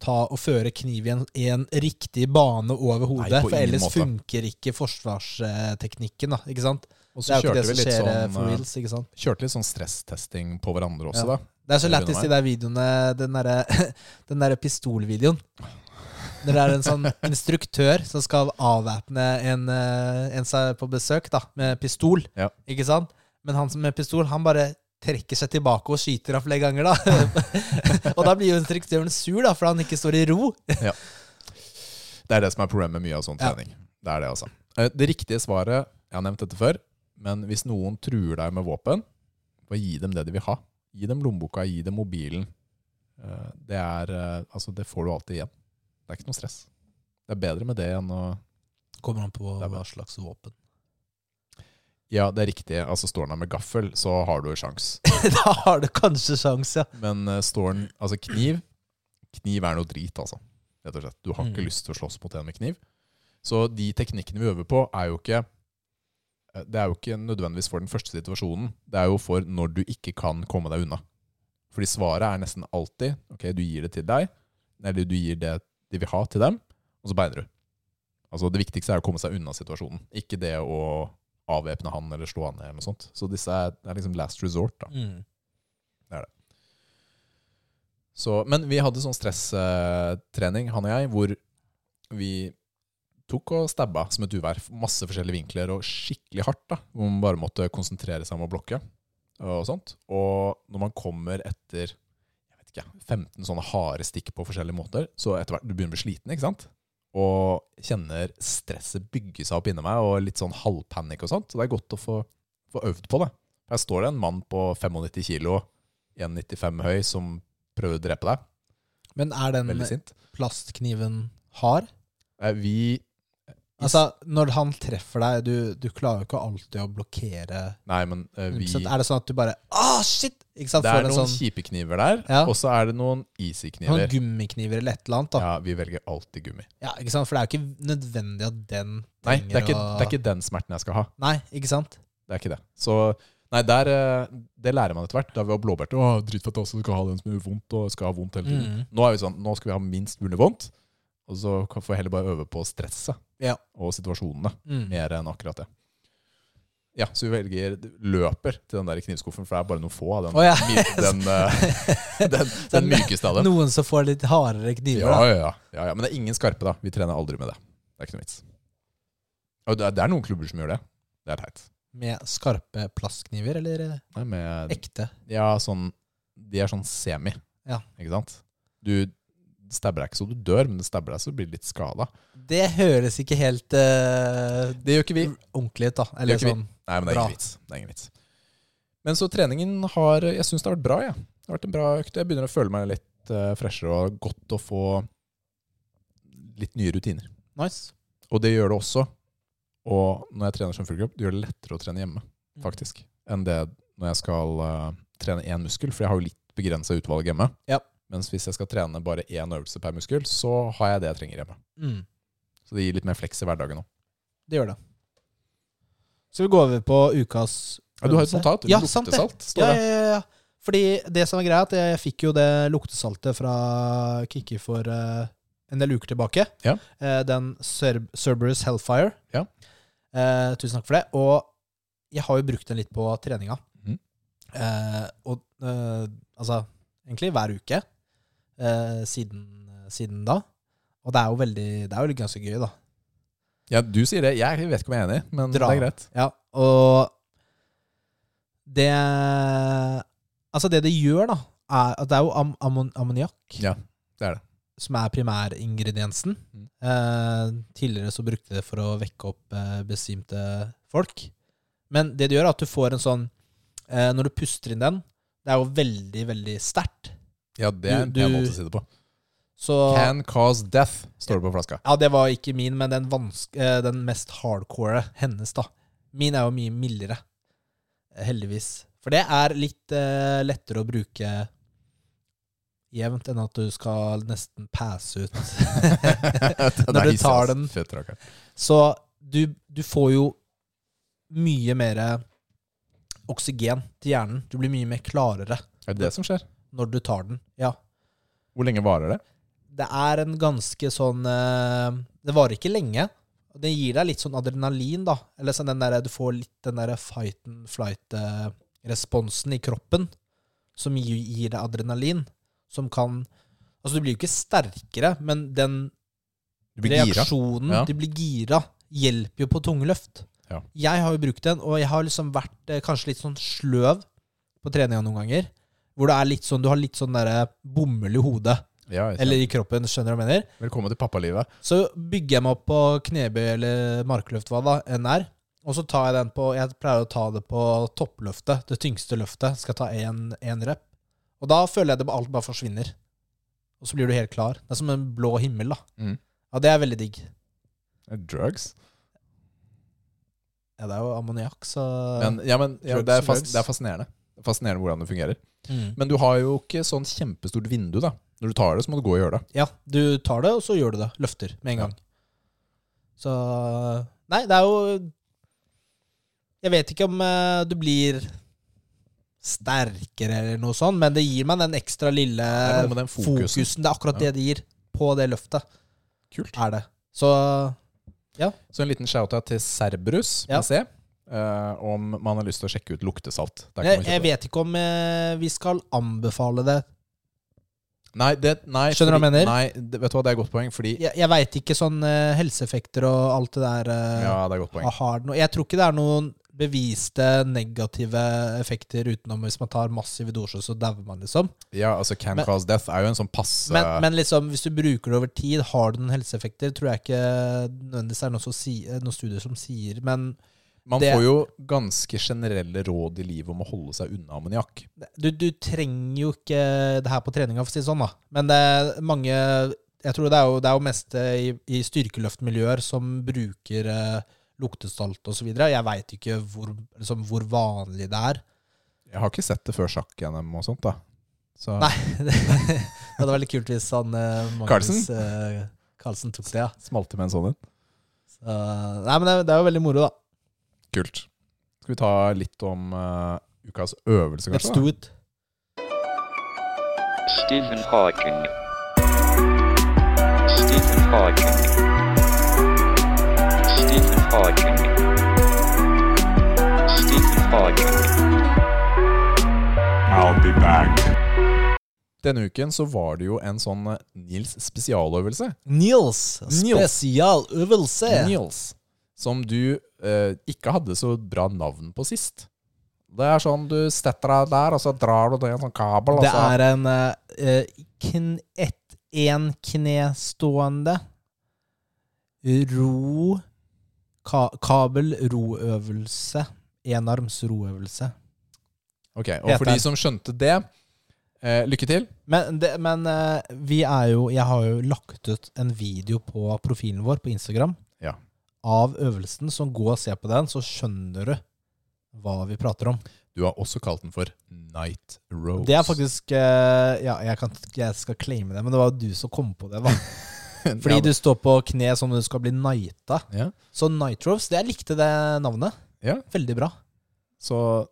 ta og føre kniv i en, i en riktig bane over hodet,
på
for
ingen
ellers
måte.
funker ikke forsvarsteknikken, da. Ikke sant?
Og
Det
så
er jo ikke
kjørte
det
vi
som
litt
skjer eh,
sånn,
for
eh,
reals, ikke sant?
kjørte litt sånn stresstesting på hverandre også,
Ja.
da.
Det er så
Det
lættis
begynner
i de videoene, den derre <laughs> den der pistolvideoen. Når det er en sånn instruktør som skal avvæpne en, eh, en som er på besøk da, med pistol.
Ja.
Ikke sant? Men han som med pistol, han bare trekker seg tilbake og skyter av flere ganger. da. <laughs> og da blir jo instruktøren sur, da, for han ikke står i ro.
Det er det som er problemet med mye av sånn
Ja.
trening. Det er det, altså. Eh, Det riktige svaret Jeg har nevnt dette før, men hvis noen truer deg med våpen, bare gi dem det de vil ha. Gi dem lommeboka, gi dem mobilen. Eh, Det er eh, Altså, det får du alltid igjen. Det er ikke noe stress. Det er bedre med det enn å
Kommer han på
Det er bra.
hva slags våpen?
Ja, det er riktig. Altså, står den der med gaffel, så har du en sjanse.
<laughs> da har du kanskje sjans, ja.
Men eh, står den Altså, kniv Kniv er noe drit, altså. Rett og slett. Du har ikke
Mm.
lyst til å slåss mot en med kniv. Så de teknikkene vi øver på, er jo ikke eh, Det er jo ikke nødvendigvis for den første situasjonen. Det er jo for når du ikke kan komme deg unna. Fordi svaret er nesten alltid Ok, du gir det til deg, eller du gir det de vil ha, til dem, og så beiner du. Altså Det viktigste er å komme seg unna situasjonen, ikke det å avvæpne han eller slå han ned. eller noe sånt. Så disse er, er liksom last resort. da.
Mm.
Så, men vi hadde sånn stresstrening, han og jeg, hvor vi tok og stabba som et uvær. Masse forskjellige vinkler og skikkelig hardt. da, Hvor man bare måtte konsentrere seg om å blokke. Og sånt. Og når man kommer etter jeg vet ikke, 15 sånne harde stikk på forskjellige måter, så etter hvert du begynner å bli sliten. ikke sant? Og kjenner stresset bygge seg opp inni meg, og litt sånn halvpanikk og sånt. Så det er godt å få, få øvd på det. Her står det en mann på 95 kilo, 1,95 høy, som prøver å drepe deg.
Men er den
Veldig sint.
plastkniven hard?
Eh, Vi
Altså, når han treffer deg, du, du klarer jo ikke alltid å blokkere
Nei, men eh, vi
100%. Er det sånn at du bare Ah, shit! Ikke sant?
Det
Får
er
en
noen
sånn,
kjipe kniver der,
Ja.
og så er det noen
noen
easy-kniver.
gummikniver eller et eller annet. Da.
Ja, vi velger alltid gummi.
Ja. ikke sant? For det er jo ikke nødvendig at den
Nei,
trenger
det er, ikke,
å
det er ikke den smerten jeg skal ha.
Nei, ikke sant?
Det er ikke det. Så Nei, der, eh, det lærer man etter hvert. Da vi var blåbærte, å, dritfett også, skal ha den som gjør vondt, og skal ha vondt hele tiden.
Mm.
Nå er vi sånn, nå skal vi ha minst mulig vondt, og så kan- får vi heller bare øve på stresset
Ja.
og situasjonene,
Mm.
mer enn akkurat det. Ja, så vi velger løper til den der knivskuffen, for det er bare noen få av den,
Å, ja.
myk-
<laughs>
den, eh, <laughs> den, den mykeste av dem.
Noen som får litt hardere kniver,
Ja,
da.
ja, ja. ja, ja. Men det er ingen skarpe, da. Vi trener aldri med det. Det er ikke noe vits. Og det er, det er noen klubber som gjør det. Det er teit.
Med skarpe plastkniver, eller eh,
Nei, Med,
ekte?
ja, sånn, de er sånn semi,
Ja.
ikke sant? Du stabber deg ikke så du dør, men du stabber deg så du blir litt skada.
Det høres ikke helt eh,
Det gjør ikke vi.
ordentlig ut, da. Eller
Det gjør ikke vi.
sånn.
Nei, men det er
Bra.
ingen vits. Det er ingen vits. Men så treningen har Jeg syns det har vært bra, jeg. Det har vært en bra økt. Jeg begynner å føle meg litt eh, freshere og godt å få litt nye rutiner.
Nice.
Og det gjør det også Og når jeg trener som full kropp, det gjør det lettere å trene hjemme,
Mm.
faktisk, enn det når jeg skal eh, trene én muskel, for jeg har jo litt begrensa utvalg hjemme.
Ja.
Mens hvis jeg skal trene bare én øvelse per muskel, så har jeg det jeg trenger hjemme.
Mm.
Så det gir litt mer fleks i hverdagen òg.
Det gjør det. Skal vi gå over på ukas
Ja, du har et
øvelse?
notat.
Ja, sant det.
Luktesalt, står
Ja,
det.
ja, ja, ja. Fordi det som er greia, er at jeg fikk jo det luktesaltet fra Kikki for eh, en del uker tilbake.
Ja.
Eh, den Cerb Cerberus Hellfire.
Ja.
Eh, tusen takk for det. Og jeg har jo brukt den litt på treninga.
Mhm.
Eh, og eh, altså egentlig hver uke eh, siden, siden da. Og det er jo veldig Det er jo ganske gøy, da.
Ja, du sier det. Jeg vet ikke om jeg er enig, men
Dra.
det er greit.
Ja, og det Altså, det det gjør, da, er at det er jo am ammon ammoniakk
Ja, det er det.
som er primæringrediensen.
Mm.
Eh, tidligere så brukte de det for å vekke opp eh, besvimte folk. Men det det gjør, er at du får en sånn eh, Når du puster inn den Det er jo veldig, veldig sterkt.
Ja, det er
Du-
en
du-
måte å si det på.
Så
Can cause death, står det på
<laughs>
flaska.
Ja, det var ikke min, men den, vanske- eh, den mest hardcore hennes, da. Min er jo mye mildere, eh, heldigvis. For det er litt eh, lettere å bruke jevnt enn at du skal nesten passe ut.
Den
Når
er
du
hissig,
tar
ass.
den.
Fett rakker.
Så du, du får jo mye mer oksygen til hjernen. Du blir mye mer klarere
Er det det som skjer?
når du tar den. Ja.
Hvor lenge varer det?
det er en ganske sånn eh, Det varer ikke lenge. Og Den gir deg litt sånn adrenalin, da. Eller sånn den der, du får litt den derre fight and flight-responsen i kroppen som gir, gir deg adrenalin. Som kan Altså, du blir jo ikke sterkere, men den
Du blir gira.
reaksjonen
Ja.
Du blir gira, hjelper jo på tunge løft.
Ja.
Jeg har jo brukt den, og jeg har liksom vært eh, kanskje litt sånn sløv på treninga noen ganger. Hvor det er litt sånn, du har litt sånn derre bomull i hodet.
Ja, jeg
Eller i kroppen, skjønner du hva jeg mener?
kjenner. Velkommen til pappalivet.
Så bygger jeg meg opp på knebøy eller markløft, hva da enn er. Og så tar jeg den på Jeg pleier å ta det på toppløftet, det tyngste løftet. Skal ta én rep. Og da føler jeg det alt bare forsvinner. Og så blir du helt klar. Det er som en blå himmel, da.
Mm.
Ja, det er veldig digg. Eh,
Drugs?
Ja, det er jo ammoniakk, så
Men, ja, men ja,
Drugs
det, er
og
fas,
drugs.
det er fascinerende. Det er Fascinerende hvordan det fungerer.
mm.
Men du har jo ikke sånn kjempestort vindu, da. Når du tar det, så må du gå og gjøre det.
Ja, du tar det, og så gjør du det. Løfter med en
Ja.
gang. Så Nei, det er jo Jeg vet ikke om eh, du blir sterkere eller noe sånt, men det gir meg den ekstra lille
Det er noe med den
fokusen.
fokusen.
Det er akkurat
Ja.
det det gir på det løftet.
Kult.
er det. Så
Så en liten shout-out til Cerberus
Ja.
med C. eh, om man har lyst til å sjekke ut luktesalt. Der kan
jeg, jeg
man kjøpe det.
vet ikke om eh, vi skal anbefale det.
Nei, det, nei,
Skjønner du hva jeg mener?
fordi- Nei, det, vet du hva, det er et godt poeng, fordi
Jeg, jeg veit ikke sånn eh, helseeffekter og alt det der. eh,
Ja, det er et godt poeng.
Har det noe- Jeg tror ikke det er noen beviste negative effekter utenom hvis man tar massive doser, så dauer man, liksom.
Ja, altså Can
Men-
cause death er jo en sånn passe
Men, men liksom, hvis du bruker det over tid, har du noen helseeffekter, tror jeg ikke nødvendigvis det er noe som si- noen studier som sier. Men
Man
det-
får jo ganske generelle råd i livet om å holde seg unna ammoniakk.
du, du trenger jo ikke det her på treninga, for å si det sånn, da. Men det er mange Jeg tror det er jo, det er jo mest eh, i, i styrkeløftmiljøer som bruker eh, luktesalt osv. Jeg veit ikke hvor, liksom, hvor vanlig det er.
Jeg har ikke sett det før sjakk-NM og sånt, da. Så
Nei, <laughs> det det hadde vært litt kult hvis han eh, Magnus
Carlsen?
eh, Carlsen tok det, ja.
smalte med en sånn en.
Så, nei, men det, er- det er jo veldig moro, da.
Kult. Skal vi ta litt om eh, ukas øvelse,
Let's
kanskje?
do it.
Stephen Hawking. Stephen Hawking. Stephen Hawking. Stephen Hawking.
I'll be back.
Da? Denne uken så var det jo en sånn eh, Nils spesialøvelse.
Nils,
Nils.
spesialøvelse.
Nils. Som du eh, ikke hadde så bra navn på sist. Det er sånn du setter deg der, og så drar du det i en sånn kabel.
Det
og så,
er en eh, kn, et, en knestående ro ka, kabel roøvelse. Enarms roøvelse.
Ok, Og
Heter
for de
den.
som skjønte det, eh, lykke til.
Men, det, men eh, vi er jo Jeg har jo lagt ut en video på profilen vår på Instagram
Ja.
av øvelsen, så gå og se på den, så skjønner du hva vi prater om.
Du har også kalt den for Night Rose.
Det er
<laughs>
faktisk eh, Ja, jeg, kan, jeg skal claime det, men det var jo du som kom på det.
<laughs>
Hva? Fordi du står på kne som om du skal bli nighta.
Ja.
Så Nitros, jeg likte det navnet.
Ja.
Veldig bra.
Så
Og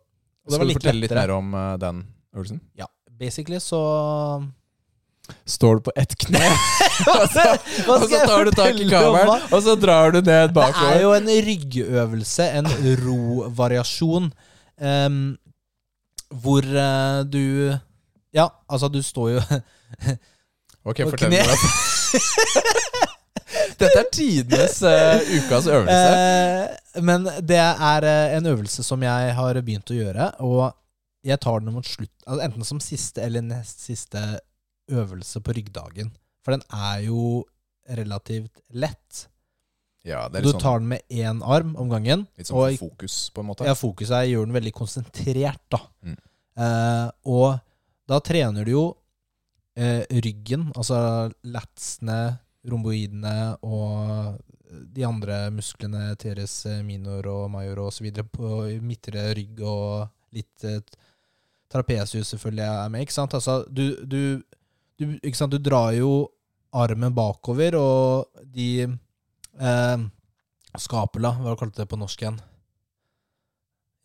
det
skal
var
du
litt
fortelle litt
lettere.
mer om eh, den øvelsen?
Ja, basically så
<laughs> Står du på ett kne,
Hva skal
<laughs> og så
jeg
tar du tak i
fortelle om hva?
kameraet, og så drar du ned
Det er
bakover.
jo en ryggøvelse, en rovariasjon, em, hvor eh, du Ja, altså, du står jo <laughs>
Ok,
på
fortell
kne. <laughs>
meg. <laughs> Dette er tidenes eh, ukas øvelse.
Eh, Men det er eh, en øvelse som jeg har begynt å gjøre, og jeg tar den mot slutt, altså enten som siste eller nest siste øvelse på ryggdagen. For den er jo relativt lett.
Ja, det er
Du
litt sånn,
tar den med én arm om gangen.
litt sånn
og-
fokus, på en måte.
Ja, fokuset er gjør den veldig konsentrert, da.
Mm.
Eh, og da trener du jo eh, ryggen, altså latsene, romboidene og eh, de andre musklene, teres eh, minor og major og så videre, på midtre rygg og litt eh, trapesius selvfølgelig er med, ikke sant? Altså, du, du, du, ikke sant? du drar jo armen bakover, og de eh, skapula, hva kalte du det på norsk igjen?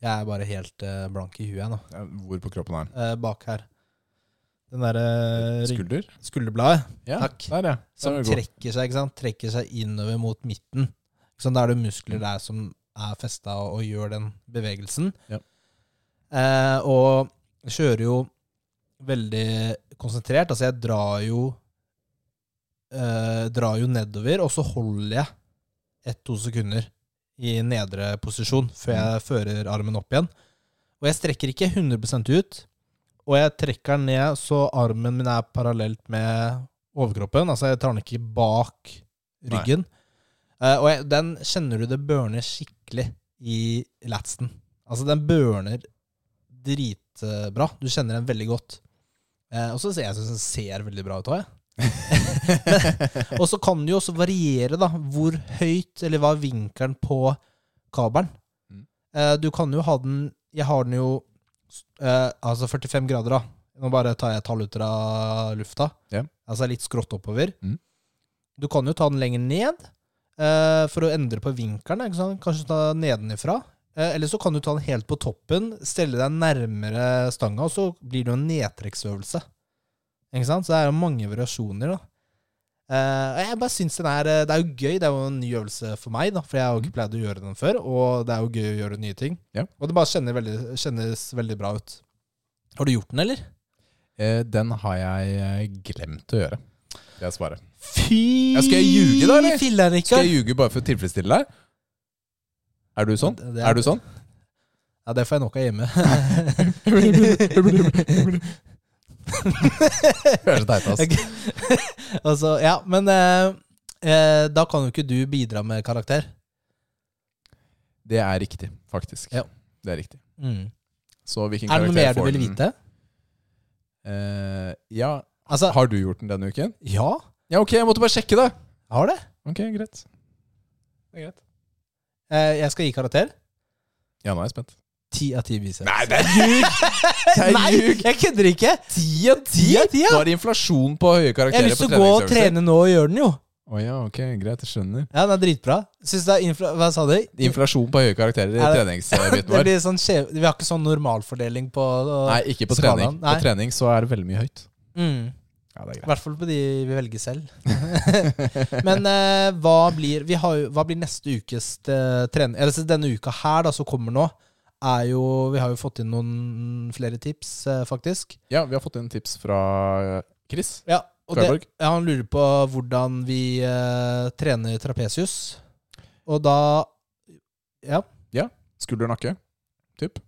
Jeg er bare helt eh, blank i huet jeg nå.
Ja, Hvor på kroppen er den?
Eh, bak her. Den derre rygg...
Skulder?
skulderbladet
Ja,
Eh, Takk.
Der, ja.
som
Den er god.
trekker seg, ikke sant? trekker seg innover mot midten. Ikke sant? Da er det muskler der som er festa og, og gjør den bevegelsen.
Ja.
Eh, og jeg kjører jo veldig konsentrert. Altså, jeg drar jo eh, Drar jo nedover, og så holder jeg ett-to sekunder i nedre posisjon før
Mm.
jeg fører armen opp igjen. Og jeg strekker ikke 100 ut, og jeg trekker den ned så armen min er parallelt med overkroppen. Altså, jeg tar den ikke bak ryggen. Eh, og jeg, den kjenner du det børner skikkelig i latsen. Altså, den børner dritbra. Du kjenner den veldig godt. Eh, og så ser jeg synes den ser veldig bra ut òg, <laughs> jeg. og så kan det jo også variere, da, hvor høyt eller hva er vinkelen på kabelen.
Mm.
Eh, du kan jo ha den Jeg har den jo eh, Altså 45 grader, da. Nå bare tar jeg tall ut av lufta.
Ja.
Altså litt skrått oppover.
Mm.
Du kan jo ta den lenger ned eh, for å endre på vinkelen. Ikke sant? Kanskje ta nedenifra. Eh, eller så kan du ta den helt på toppen, stelle deg nærmere stanga, og så blir det jo en nedtrekksøvelse. Ikke sant? Så det er jo mange variasjoner, da. Eh, og jeg bare synes den er eh, Det er jo gøy. Det er jo en ny øvelse for meg, da, for jeg har jo ikke pleid å gjøre den før. Og det er jo gøy å gjøre nye ting.
Mm. Ja.
Og det bare kjenner veldig, kjennes veldig bra ut. Har du gjort den, eller?
Eh, Den har jeg eh, glemt å gjøre. Det er svaret.
Fy
Ja, skal jeg ljuge da, eller?
Filler'n,
Skal
Rikard.
jeg ljuge bare for å tilfredsstille deg? Er du sånn?
Det- det er-
Er du sånn?
Ja, det får jeg nok av
<laughs>
hjemme.
Du er så teit, ass.
Ok. altså, ja, men eh, eh, da kan jo ikke du bidra med karakter.
Det er riktig, faktisk.
Ja.
Det er riktig.
Mm.
Så hvilken
Er det noe mer
karakter
du
får
vil
den?
vite?
Eh, ja.
Altså,
Har du gjort den denne uken?
ja,
Ja, ok, jeg måtte bare sjekke det.
jeg har det.
Ok, greit. Det er greit.
Eh, jeg skal gi karakter.
Ja, nå er jeg spent.
Ti av ti biceps.
Nei, det er ljug! Det er
Eh, Nei,
ljug!
jeg kødder ikke!
Ti av ti!
av ti, <laughs> ja.
Nå er det inflasjon på høye
Jeg har
karakterer
lyst
på
til å gå og
treningsøvelser.
trene nå og gjøre den, jo.
Å ja, ok, greit, jeg skjønner.
Ja, den er dritbra. Syns det er infra... Hva sa du?
Inflasjon på høye karakterer i
Er det-
treningsbiten
<laughs> Det
vår.
blir sånn skjev... Vi har ikke sånn normalfordeling på
Nei, ikke på
Skalaen,
trening. På
nei.
trening så er det veldig mye høyt.
Mm.
Ja, det er
I hvert fall på de vi velger selv. <laughs> Men eh, hva, blir, vi har, jo- hva blir neste ukes eh, trening? Eller så denne uka her, da, som kommer nå, er jo Vi har jo fått inn noen flere tips, eh, faktisk.
Ja, vi har fått inn tips fra eh, Chris.
Ja, og det,
Klarborg.
ja, han lurer på hvordan vi eh, trener trapesius. Og da Ja.
Skulder og nakke. Typ.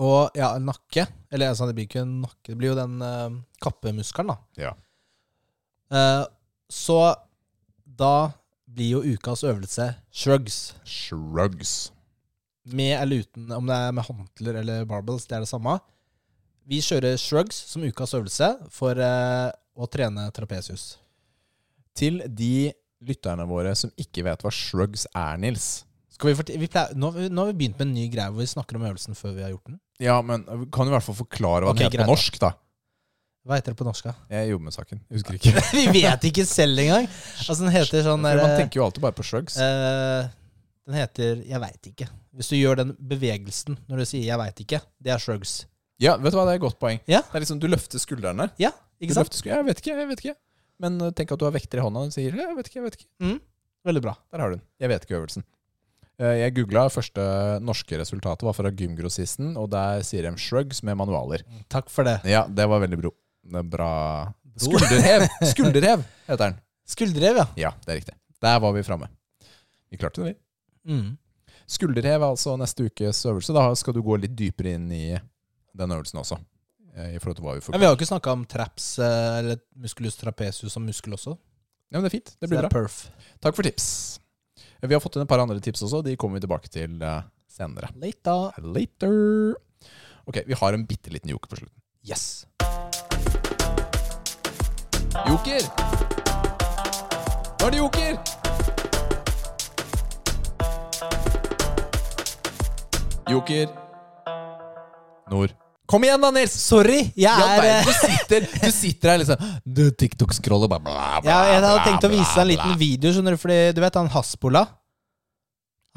Og ja, nakke. Eller altså, det blir ikke en nakke, det blir jo den eh, kappemuskelen, da.
Ja.
Eh, så da blir jo ukas øvelse shrugs.
Shrugs.
Med eller uten, om det er med håndkler eller barbels, det er det samme. Vi kjører shrugs som ukas øvelse for eh, å trene trapesius.
Til de lytterne våre som ikke vet hva shrugs er, Nils,
Skal vi fortelle, vi pleier, nå, nå har vi begynt med en ny greie hvor vi snakker om øvelsen før vi har gjort den.
Ja, men øh, kan du i hvert fall forklare hva
Ok,
den heter
greit, da.
på norsk, da?
Hva heter det på norsk? da? <laughs>
Jeg jobber med saken. Jeg husker ikke.
vi vet ikke selv engang! Altså, den heter sånn
<laughs> For man
derre-
tenker jo alltid bare på shrugs.
Eh, den heter Jeg veit ikke. Hvis du gjør den bevegelsen når du sier 'jeg veit ikke', det er shrugs.
Ja, vet du hva, det er et godt poeng.
Ja.
Det er liksom, Du løfter skuldrene.
Ja,
Du
ikke sant?
løfter skuldrene. Jeg vet ikke, jeg vet ikke. Men eh, tenk at du har vekter i hånda og sier jeg vet ikke, jeg vet ikke.
Mm. Veldig bra.
Der har du den. Jeg vet ikke øvelsen. Eh, Jeg googla første norske resultatet var fra Gymgrossisten, og der sier de shrugs med manualer.
Takk for det.
Ja, det var veldig bro. det er Bra Skulderhev! Skulderhev heter den.
Skulderhev, ja.
Ja, det er riktig. Der var vi framme. Vi klarte det, vi.
Mm.
Skulderhev er altså neste ukes øvelse. Da skal du gå litt dypere inn i den øvelsen også. eh, I forhold til hva vi får.
Men vi har jo ikke snakka om traps eh, eller musculus trapezius som muskel også.
Ja, men det er fint. Det
Så
blir
er
bra.
perf.
Takk for tips. Eh, Vi har fått inn et par andre tips også. De kommer vi tilbake til eh, senere.
Late, da.
Later. Ok, vi har en bitte liten joker på slutten.
Yes.
Joker! Nå er det joker! Joker. Nord. Kom igjen, da, Nils!
Sorry, jeg
Ja,
er
nei,
eh,
du, sitter, du sitter her liksom Du TikTok-scroller bare bla, bla,
Ja, jeg hadde
bla,
tenkt å vise deg en
bla,
liten video, skjønner du, fordi du vet han Haspola?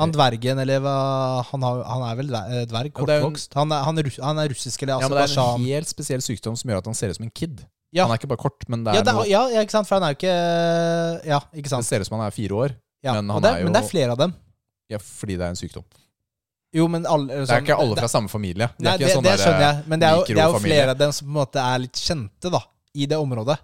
Han dvergen, eller hva Han, har, han er vel dver- eh, dverg?
Ja, det er jo en-
Kortvokst? Han, er- han, er russ- han er russisk, eller
Ja, men det er en
Aserbajdsjan?
helt spesiell sykdom som gjør at han ser ut som en kid.
altså, Ja.
Han er ikke bare kort, men det
Ja,
er
det er,
noe
ja, ja, ikke sant, for han er jo ikke Ja, ikke
Det
sant.
ser ut som han er fire år,
Ja.
men
Men,
han
det,
er
er
jo-
men det er flere av dem.
ja, fordi det er en sykdom.
Jo, men alle sånn-
Det er ikke alle fra samme familie.
det, nei, det,
sånn
det, skjønner jeg, men det er, jo, det er jo
mikrofamilie.
flere av dem som på en måte er litt kjente, da, i det området.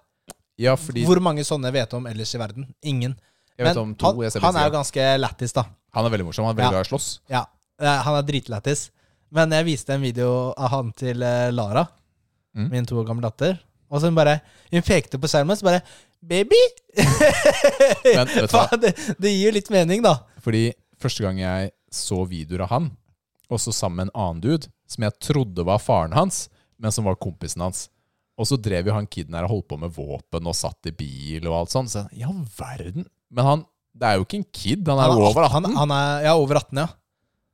Ja, fordi
Hvor mange sånne vet du om ellers i verden? Ingen.
Jeg vet om to.
han,
Jeg ser
han er jo
han, er
ganske lættis, da.
han er veldig morsom. Han er veldig
Ja.
glad i å slåss.
Ja, eh, han er dritlættis. Men jeg viste en video av han til eh, Lara,
Mm.
min to år gamle datter. Og så hun bare Hun pekte på skjermen, så bare Baby! <laughs>
Men vet du hva?
Faen, det, det gir jo litt mening, da.
Fordi første gang jeg så videoer av han, også sammen med en annen dude, som jeg trodde var faren hans, men som var kompisen hans. Og så drev jo han kiden her og holdt på med våpen og satt i bil og alt sånt. Så jeg, ja, verden. Men han, det er jo ikke en kid. Han er jo over 18.
han, han er ja, over 18, ja.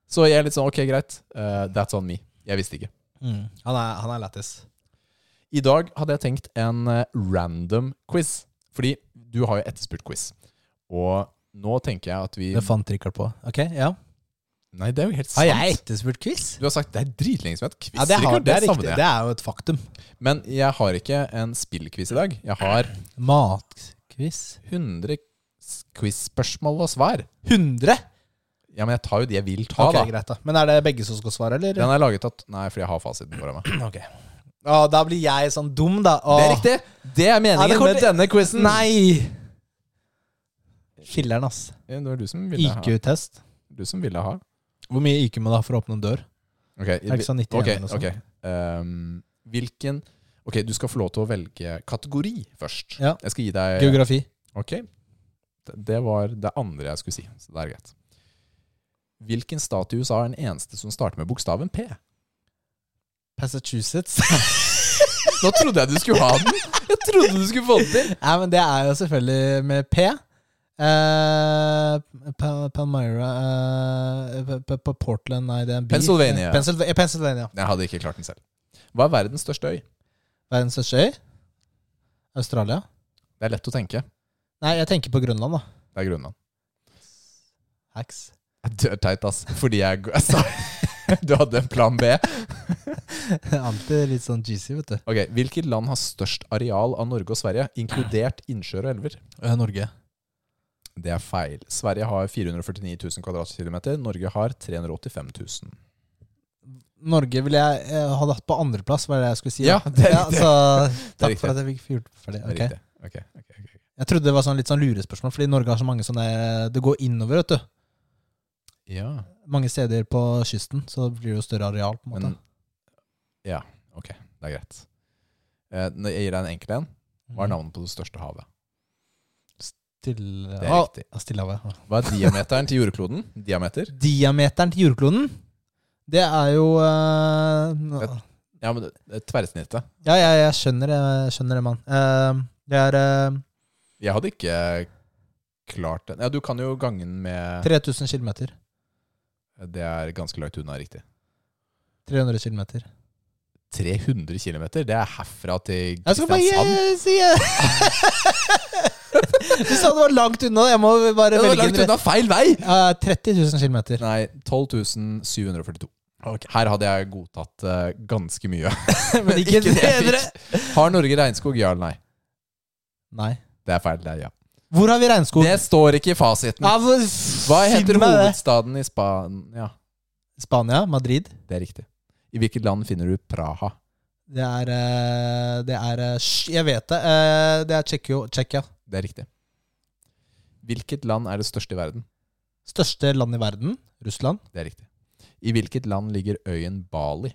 Så jeg er litt sånn, ok, greit. Eh, that's on me. Jeg visste ikke.
Han er, han er lættis.
I dag hadde jeg tenkt en eh, random quiz. Fordi du har jo etterspurt quiz. Og nå tenker jeg at vi
Det fant Rikard på. Ok, ja
Nei, det er jo helt sant.
Har jeg etterspurt quiz?
Du har sagt det er dritlenge som het quiz.
Ja, det, har,
Rikard,
det, er riktig,
savner jeg.
det er jo et faktum.
Men jeg har ikke en spillquiz i dag. Jeg har
Matquiz
100 s- quiz-spørsmål og svar.
100?
Ja, men jeg tar jo de jeg vil ta,
Ok,
da.
greit da Men er det begge som skal svare, eller?
Den er laget at Nei, fordi jeg har fasiten foran meg.
Ok Å, Da blir jeg sånn dum, da. Å.
Det er riktig! Det er meningen
Ja, det kommer
med
til-
denne quizen.
Nei! Filler'n, ass.
Ja, Det var du som ville ha.
IQ-test.
Du som ville ha.
Hvor mye IQ må du ha for å åpne en dør?
Ok,
ikke sånn 91
ok,
eller noe sånt.
ok. Ehm, hvilken Ok, du skal få lov til å velge kategori først.
Ja.
Jeg skal gi deg
Geografi.
Ok. Det- Det var det andre jeg skulle si, så det er greit. Hvilken stat i USA er den eneste som starter med bokstaven P?
Massachusetts. <laughs>
Nå trodde jeg du skulle ha den! Jeg trodde du skulle få den til!
Nei, men det er jo selvfølgelig med P. Eh, Pa- Palmyra eh, pa- pa- pa- Portland, nei, det er en by.
Pennsylvania.
Pennsylva- eh, Pennsylvania.
Jeg hadde ikke klart den selv. Hva er verdens største øy?
Verdens største øy? Australia?
Det er lett å tenke.
Nei, jeg tenker på Grønland, da.
Det er Grønland.
Hacks.
Jeg dør teit, ass. Fordi jeg, jeg sa Du hadde en plan B.
<laughs> Alltid litt sånn juicy, vet du.
Ok, Hvilket land har størst areal av Norge og Sverige, inkludert innsjøer og elver?
Eh, Norge.
Det er feil. Sverige har 449 000 kvadratkilometer. Norge har 385 000.
Norge ville jeg eh, hadde hatt på andreplass, var det jeg skulle si.
Ja,
da.
<laughs> det er
så,
riktig. Det er
takk
riktig.
for at jeg fikk gjort ferdig.
Det er
Ok.
riktig. Ok, ok, ok, ok.
Jeg trodde det var sånn litt sånn lurespørsmål, fordi Norge har så mange sånne eh, Det går innover, vet du.
Ja,
Mange steder på kysten, så blir det jo større areal, på en måte.
men Ja, ok. Det er greit. Eh, nå- Jeg gir deg en enkel en. Hva er navnet på det største havet?
Stille-
Det er
Å,
riktig.
ja, Stillehavet. ja.
Hva er diameteren til jordkloden? Diameter?
Diameteren til jordkloden, det er jo eh, nå-
Ja, men det- det er Tverrsnittet.
Ja, ja, jeg skjønner det, jeg skjønner det, mann. Eh, det er eh,
Jeg hadde ikke klart det. Ja, du kan jo gange den med
3000 km.
Det er ganske langt unna riktig.
300 km.
300 km, det er herfra til
Jeg skal bare
Kristiansand.
gi- si <laughs> Du sa det var langt unna. Jeg må bare
Det
velge
var
en
langt
rett.
unna feil vei!
Eh, 30 000 km.
Nei, 12.742. Her hadde jeg godtatt eh, ganske mye.
<laughs> Men
<laughs>
ikke,
det jeg fikk.
300.
Har Norge regnskog? Ja eller nei?
Nei.
Det er feil. Det er ja.
Hvor har vi regnskog?
Det står ikke i fasiten.
Ja, hvor-
Hva heter
Finn Ah, meg det.
hovedstaden i Spania?
Spania? Madrid?
Det er riktig. I hvilket land finner du Praha?
Det er eh, Det er eh, sj- Jeg vet det. Eh, Det er Tsjekkio- Tsjekkia.
Det er riktig. Hvilket land er det største i verden?
Største land i verden. Russland.
Det er riktig. I hvilket land ligger øyen Bali?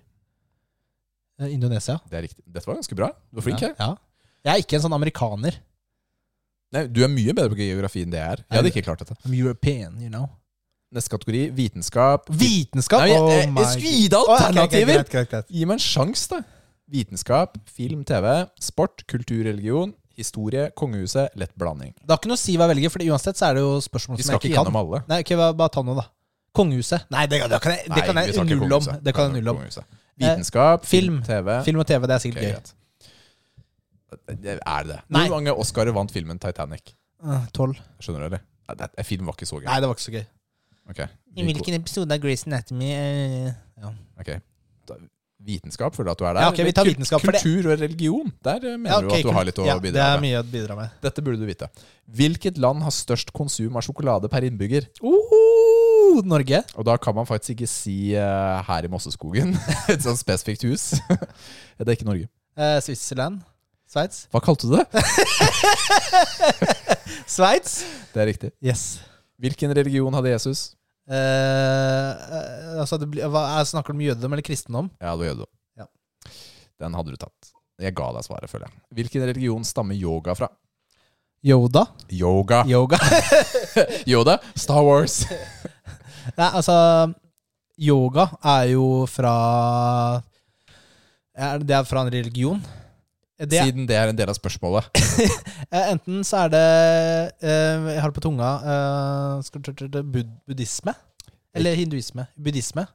Eh, Indonesia.
Det er riktig. Dette var ganske bra. Du var flink
ja.
her.
ja. Jeg er ikke en sånn amerikaner.
Nei, du er mye bedre på geografi enn det jeg er. Jeg hadde ikke klart dette.
I'm European, you know.
Neste kategori vitenskap.
Vitenskap?
Nei, jeg,
Oh
jeg,
my
jeg skulle gi deg
God. Å, ja, ok, ok,
alternativer!
greit, greit, greit.
Gi meg en sjanse, da. Vitenskap, film, TV, sport, kultur, religion, historie, kongehuset, lett blanding.
Det har ikke noe å si hva jeg velger, for uansett så er det jo spørsmål
Vi
som
skal
jeg
ikke
ikke kan.
gjennom alle.
Nei, ok, bare- bare ta noe, da. Kongehuset. Nei, det, det kan jeg, det kan
Nei, vi tar
jeg
ikke
null om.
kongehuset.
Det kan jeg
Vi tar
null om. Eh,
kongehuset. Vitenskap, film,
film.
TV.
Film og TV, det er
Ok,
sikkert gøy.
greit. Det Er det?
Nei.
Hvor mange Oscarer vant filmen Titanic?
Eh, Tolv.
Skjønner du, eller? Nei, det, det- film var ikke så gøy.
Nei, det var ikke så gøy.
Ok.
episode av Grace Anatomy eh, ja.
Ok. Da- Vitenskap, føler du at du er der?
Ja, ok, vi tar
Kul-
vitenskap, for det-
Kultur og religion, der eh, mener
Ja, ok,
du at du
kult.
har litt å
ja,
bidra
Det er
med.
mye å bidra med.
Dette burde du vite. Hvilket land har størst konsum av sjokolade per innbygger?
Oh, Norge.
Og da kan man faktisk ikke si eh, her i Mosseskogen, <laughs> et sånt spesifikt hus. <laughs> det er ikke Norge.
Eh, Switzerland. Sveits.
Hva
<laughs>
kalte du det?
Sveits!
Det er riktig.
Yes.
Hvilken religion hadde Jesus?
Eh, eh, altså, det blir, hva, jeg snakker du om jødedom eller kristendom?
Ja, det var jødedom.
Ja.
Den hadde du tatt. Jeg ga deg svaret, føler jeg. Hvilken religion stammer yoga fra?
Yoda.
Yoga.
Yoga. <laughs>
Yoda? Star Wars.
Nei, altså Yoga er jo fra er- Det er fra en religion. Det,
Siden det er en del av spørsmålet.
eh, enten så er det eh, Jeg har det på tunga eh, skal, tr- tr- tr- bud, Buddhisme? Eller hinduisme. Buddhisme.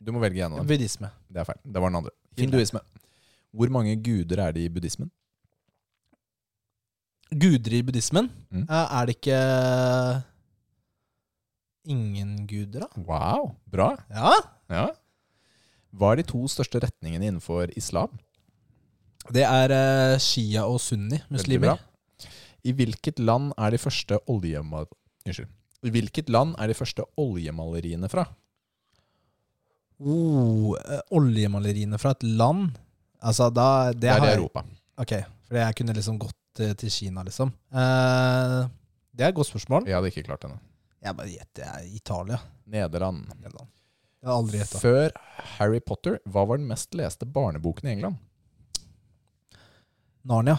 Du må velge en av dem.
Buddhisme.
Det er feil. Det var den andre.
Fint.
Hinduisme. Hvor mange guder er det i buddhismen?
Guder i buddhismen?
Mm.
Eh, er det ikke ingen guder, da?
Wow, bra.
Ja?
Ja. Hva er de to største retningene innenfor islam?
Det er eh, shia og sunni
Veldig
muslimer.
bra. I hvilket land er de første oljema- Unnskyld. I hvilket land er de første oljemaleriene fra?
Oh, eh, oljemaleriene fra et land Altså, da Det,
Det er
har
i
jeg-
Europa.
Ok, for jeg kunne liksom gått eh, til Kina, liksom. Eh, det er et godt spørsmål.
Jeg hadde ikke klart denne.
Jeg bare gjetter jeg er Italia.
Nederland.
Jeg har aldri gjetta.
Før Harry Potter, hva var den mest leste barneboken i England?
Narnia.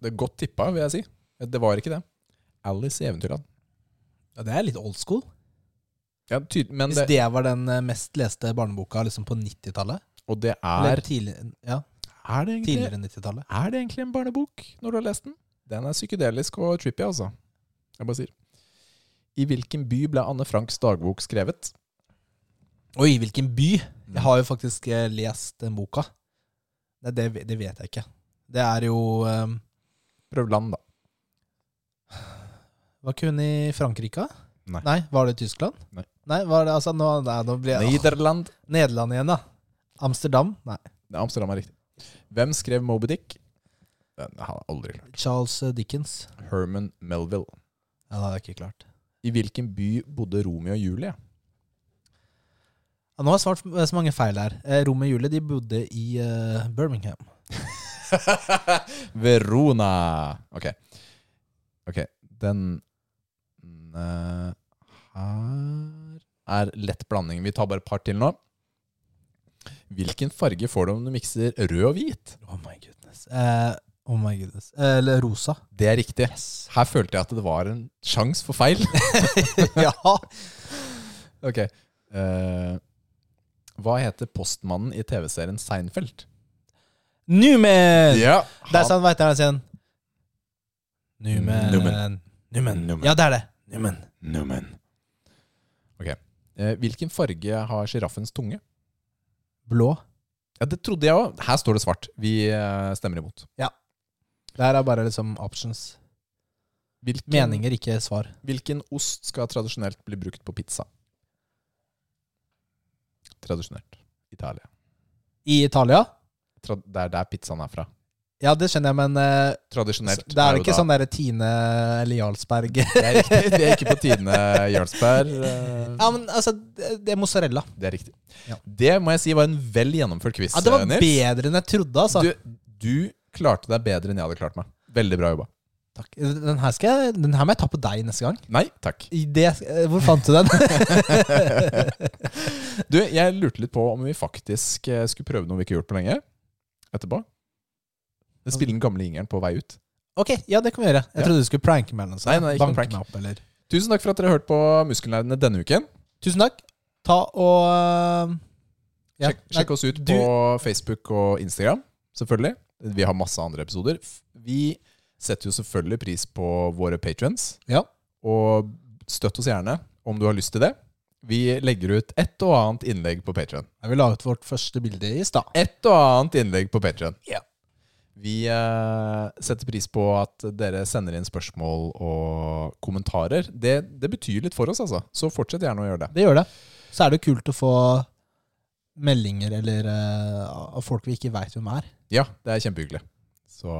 Det er Godt tippa, vil jeg si. Det var ikke det. Alice i Eventyrland.
Ja, det er litt old school.
Ja, tyd, men
Hvis
det,
det var den eh, mest leste barneboka liksom på 90-tallet
og det
Eller
er
tidlig, ja,
er det, egentlig,
tidligere 90-tallet.
er det egentlig en barnebok når du har lest den? Den er psykedelisk og trippy, altså. Jeg bare sier. I hvilken by ble Anne Franks dagbok skrevet?
Oi, hvilken by! Jeg har jo faktisk eh, lest den boka. Nei, det, det vet jeg ikke. Det er jo eh,
Prøv land, da.
Var ikke hun i Frankrike? da?
Nei.
Nei, Var det i Tyskland?
Nei.
Nei, var det, altså, nå, nei, nå blir jeg
Nederland.
Åh, Nederland igjen, da. Amsterdam? Nei.
Nei, Amsterdam er riktig. Hvem skrev Moby Dick? Den har jeg aldri klart.
Charles eh, Dickens.
Herman Melville.
Ja, det hadde jeg ikke klart.
I hvilken by bodde Romeo og Julie?
Ja, nå har jeg svart eh, så mange feil her. Eh, Romeo og Julie de bodde i eh, Birmingham.
<laughs> Verona. Ok. Ok, den eh, her er lett blanding. Vi tar bare et par til nå. Hvilken farge får du om du mikser rød og hvit?
Oh my goodness. Eh, oh my goodness. Eh, Eller rosa.
Det er riktig.
Yes.
Her følte jeg at det var en sjanse for feil. <laughs>
ja.
ok. eh, hva heter postmannen i TV-serien Seinfeld?
Newman! Der
han,
sa han veiteren sin. Newman.
Newman.
Newman.
Newman.
Ja, det er det. Newman.
Newman. Ok, Eh, Hvilken farge har sjiraffens tunge?
Blå.
Ja, Det trodde jeg òg. Her står det svart. Vi eh, stemmer imot.
Det her er bare liksom options.
Hvilken,
Meninger, ikke svar.
Hvilken ost skal tradisjonelt bli brukt på pizza? Tradisjonelt. Italia.
I Italia?
Tra det er der pizzaen er fra.
Ja, det skjønner jeg, men eh,
Tradisjonelt.
det er
jo
ikke
da-
sånn derre Tine eller Jarlsberg
Det er riktig. Det er ikke på
<laughs>
tidene Jarlsberg. eh,
Ja, men altså, det det er mozzarella.
Det er riktig.
Ja.
Det må jeg si var en vel gjennomført quiz. eh,
Ja, Det var
Nils.
bedre enn jeg trodde, altså.
Du, du klarte deg bedre enn jeg hadde klart meg. Veldig bra jobba.
Takk. Den her, skal jeg, den her må jeg ta på deg neste gang.
Nei, takk.
I det, eh, hvor fant du den? <laughs>
Du, jeg lurte litt på om vi faktisk eh, skulle prøve noe vi ikke har gjort på lenge. Etterpå. Spille den gamle jingeren på vei ut.
ok, ja, det kan vi gjøre. Jeg
Ja.
trodde du skulle pranke meg. eller noe sånt.
Nei, nei, ikke noe
Banke
prank.
meg Opp, eller.
Tusen takk for at dere hørte på Muskelnerdene denne uken.
Tusen takk. Ta og eh, ja.
Sjekk, sjekk oss ut på Facebook og Instagram, selvfølgelig. Vi har masse andre episoder. F- Vi setter jo selvfølgelig pris på våre patrons.
Ja.
Og støtt oss gjerne om du har lyst til det. Vi legger ut et og annet innlegg på Patreon.
Nei, Vi la ut vårt første bilde i stad.
Et og annet innlegg på Patreon.
Ja.
Vi eh, setter pris på at dere sender inn spørsmål og kommentarer. Det, det betyr litt for oss, altså. Så fortsett gjerne å gjøre det.
Det gjør det. Så er det kult å få meldinger eller eh, av folk vi ikke veit hvem er.
Ja, det er kjempehyggelig. Så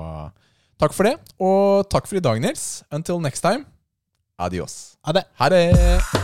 takk for det, og takk for i dag, Nils. Until next time, adios.
Ha det.
Ha det!